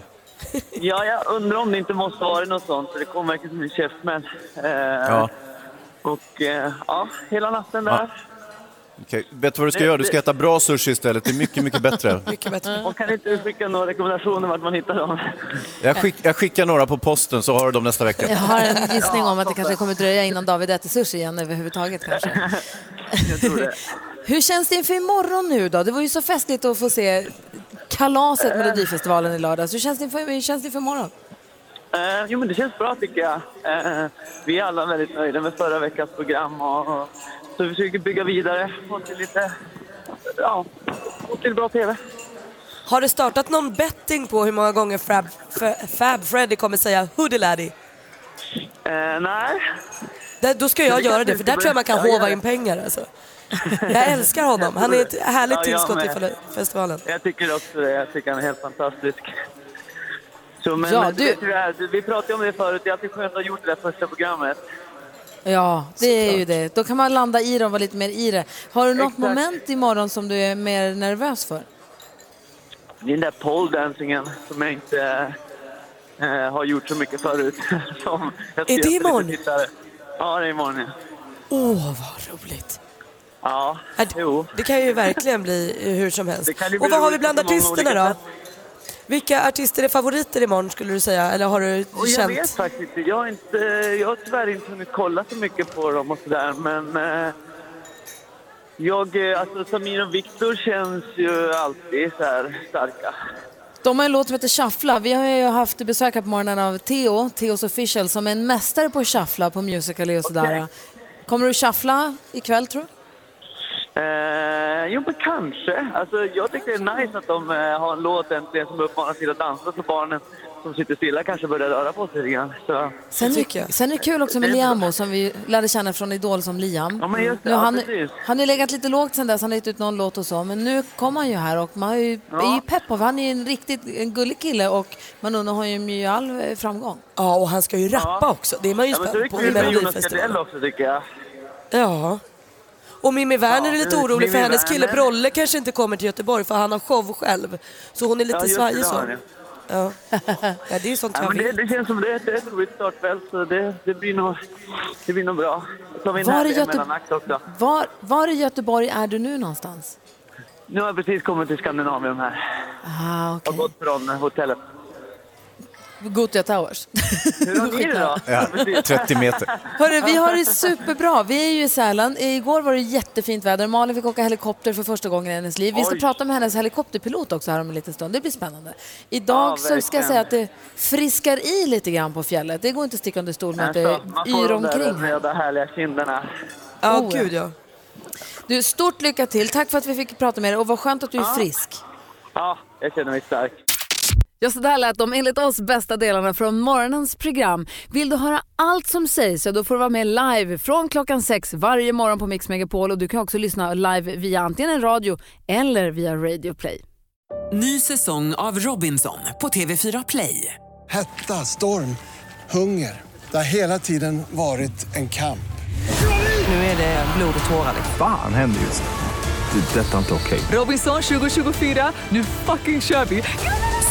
S8: Ja, jag undrar om det inte måste vara något sånt, för det kom verkligen som en käftsmäll. Eh,
S6: Ja.
S8: Och eh, ja, hela natten där.
S6: Okej. Vet du vad du ska göra? Du ska äta bra sushi istället. Det är mycket, mycket bättre.
S7: Mycket bättre.
S8: Och kan inte du skicka några rekommendationer vart man hittar dem?
S6: Jag, skick, jag skickar några på posten så har du dem nästa vecka.
S5: Jag har
S8: (laughs)
S5: en gissning om att det kanske kommer dröja innan David äter sushi igen överhuvudtaget kanske.
S8: (laughs) Jag tror det.
S5: (laughs) Hur känns det inför imorgon nu då? Det var ju så festligt att få se
S8: Äh.
S5: kalaset Melodifestivalen i lördags. Hur känns det inför, hur känns det inför imorgon?
S8: Eh, jo, men det känns bra tycker jag. Eh, vi är alla väldigt nöjda med förra veckans program och, och så vi försöker bygga vidare och till lite, ja, och till bra TV.
S7: Har du startat någon betting på hur många gånger Fab, F- Fab Freddy kommer säga Hoodie
S8: Eh, nej.
S7: Där, då ska jag göra det, för där tror jag man kan håva in pengar
S8: (laughs)
S7: alltså. Jag älskar honom. Han är ett härligt
S8: Ja, jag
S7: tillskott
S8: med.
S7: till festivalen.
S8: Jag tycker också det. Jag tycker han är helt fantastisk. Så, men,
S7: Ja,
S8: men
S7: du-
S8: vet hur det är. Du- Vi pratade om det förut. Det är alltid skönt att ha gjort det där första programmet.
S5: Ja, det är ju det. Då kan man landa i det och vara lite mer i det. Har du något
S8: Exakt.
S5: moment imorgon som du är mer nervös för?
S8: Det är den där poledancingen som jag inte eh, har gjort så mycket förut. som jag
S7: Är det
S8: ser för lite
S7: imorgon?
S8: tittare. Ja, det är imorgon. ja.
S7: Åh, vad roligt.
S8: Ja, jo.
S7: Det kan ju verkligen bli hur som helst.
S8: Det kan ju bli
S7: Och vad har vi
S8: roligt
S7: bland
S8: på många
S7: artisterna
S8: olika
S7: då? Vilka artister är favoriter imorgon skulle du säga? Eller har du
S8: Och jag vet
S7: känt?
S8: faktiskt inte. Jag har, inte, jag har tyvärr inte hunnit kolla så mycket på dem och sådär, men... Eh, jag, eh, alltså Samir och Viktor känns ju alltid så här starka.
S5: De har en låt som heter Shuffla. Vi har ju haft besök här på morgonen av Theo, Theos official, som är en mästare på att shuffla på musical och sådär.
S8: Okej.
S5: Kommer du shuffla ikväll tror du?
S8: Eh, jo, men kanske. Alltså, jag tycker det är nice att de eh, har en låt äntligen som uppmanar till att dansa så barnen som sitter stilla kanske börjar röra på sig lite grann. Så,
S5: Sen är, sen är det kul också med
S8: Det är bra.
S5: Liamo som vi lärde känna från Idol som Liam.
S8: Ja, men just det.
S5: Nu,
S8: Ja,
S5: han,
S8: precis.
S5: han har ju legat lite lågt sen dess, han har gett ut någon låt och så, men nu kom han ju här och man är ju, är ju pepp av han är ju en riktigt en gullig kille och man undrar har ju ju all eh, framgång.
S7: Ja, och han ska ju rappa också. Det är man ju
S8: ja, men så är det
S7: spänd på
S8: kul
S7: i
S8: med Jonas
S7: Melodifestivalen.
S8: Gardell också tycker jag.
S7: Ja. Och Mimmi Werner
S8: Ja,
S7: är lite
S8: Mimmi
S7: orolig för hennes
S8: Werner.
S7: kille Brolle kanske inte kommer till Göteborg för han har show själv. Så hon är lite
S8: Ja, just det,
S7: svajig
S8: det
S7: så.
S8: har han,
S7: Ja. ja, det är sånt
S8: Ja,
S7: jag
S8: men det,
S7: vill.
S8: det känns som det, är- det är ett roligt startfält så det, det, blir, nog, det blir nog bra. Så tar vi en
S5: Var är
S8: härlig
S5: Göte-
S8: mellanakt också.
S5: Var, var i Göteborg är du nu någonstans?
S8: Nu har jag precis kommit till Skandinavien här.
S5: Ah,
S8: Jag har gått från hotellet.
S5: Gothia Towers.
S8: Hur har ni det då?
S6: Ja, 30 meter.
S5: Hörru, vi har det superbra. Vi är ju i Sälen. Igår var det jättefint väder. Malin fick åka helikopter för första gången i hennes liv. Vi ska
S26: Oj.
S5: prata med hennes helikopterpilot också här om en liten stund. Det blir spännande. Idag
S26: Ja,
S5: så ska jag
S26: verkligen.
S5: säga att det friskar i lite grann på fjället. Det går inte att sticka under stol med att det
S8: Alltså, man får
S5: yr
S8: de där
S5: omkring.
S8: röda härliga kinderna.
S5: Ja, Oh, ja. gud, ja. Du, stort lycka till. Tack för att vi fick prata med dig och vad skönt att du är frisk.
S8: Ja, jag känner mig stark.
S27: Ja, så där lät de enligt oss bästa delarna från morgonens program. Vill du höra allt som sägs så då får du vara med live från klockan sex varje morgon på Mix Megapol och du kan också lyssna live via antingen en radio eller via Radio Play.
S1: Ny säsong av Robinson på TV4 Play.
S2: Hetta, storm, hunger. Det har hela tiden varit en kamp.
S1: Nu är det blod och tårar.
S28: Fan händer just nu. Det. är Detta är inte okej.
S1: Robinson 2024, nu fucking kör vi!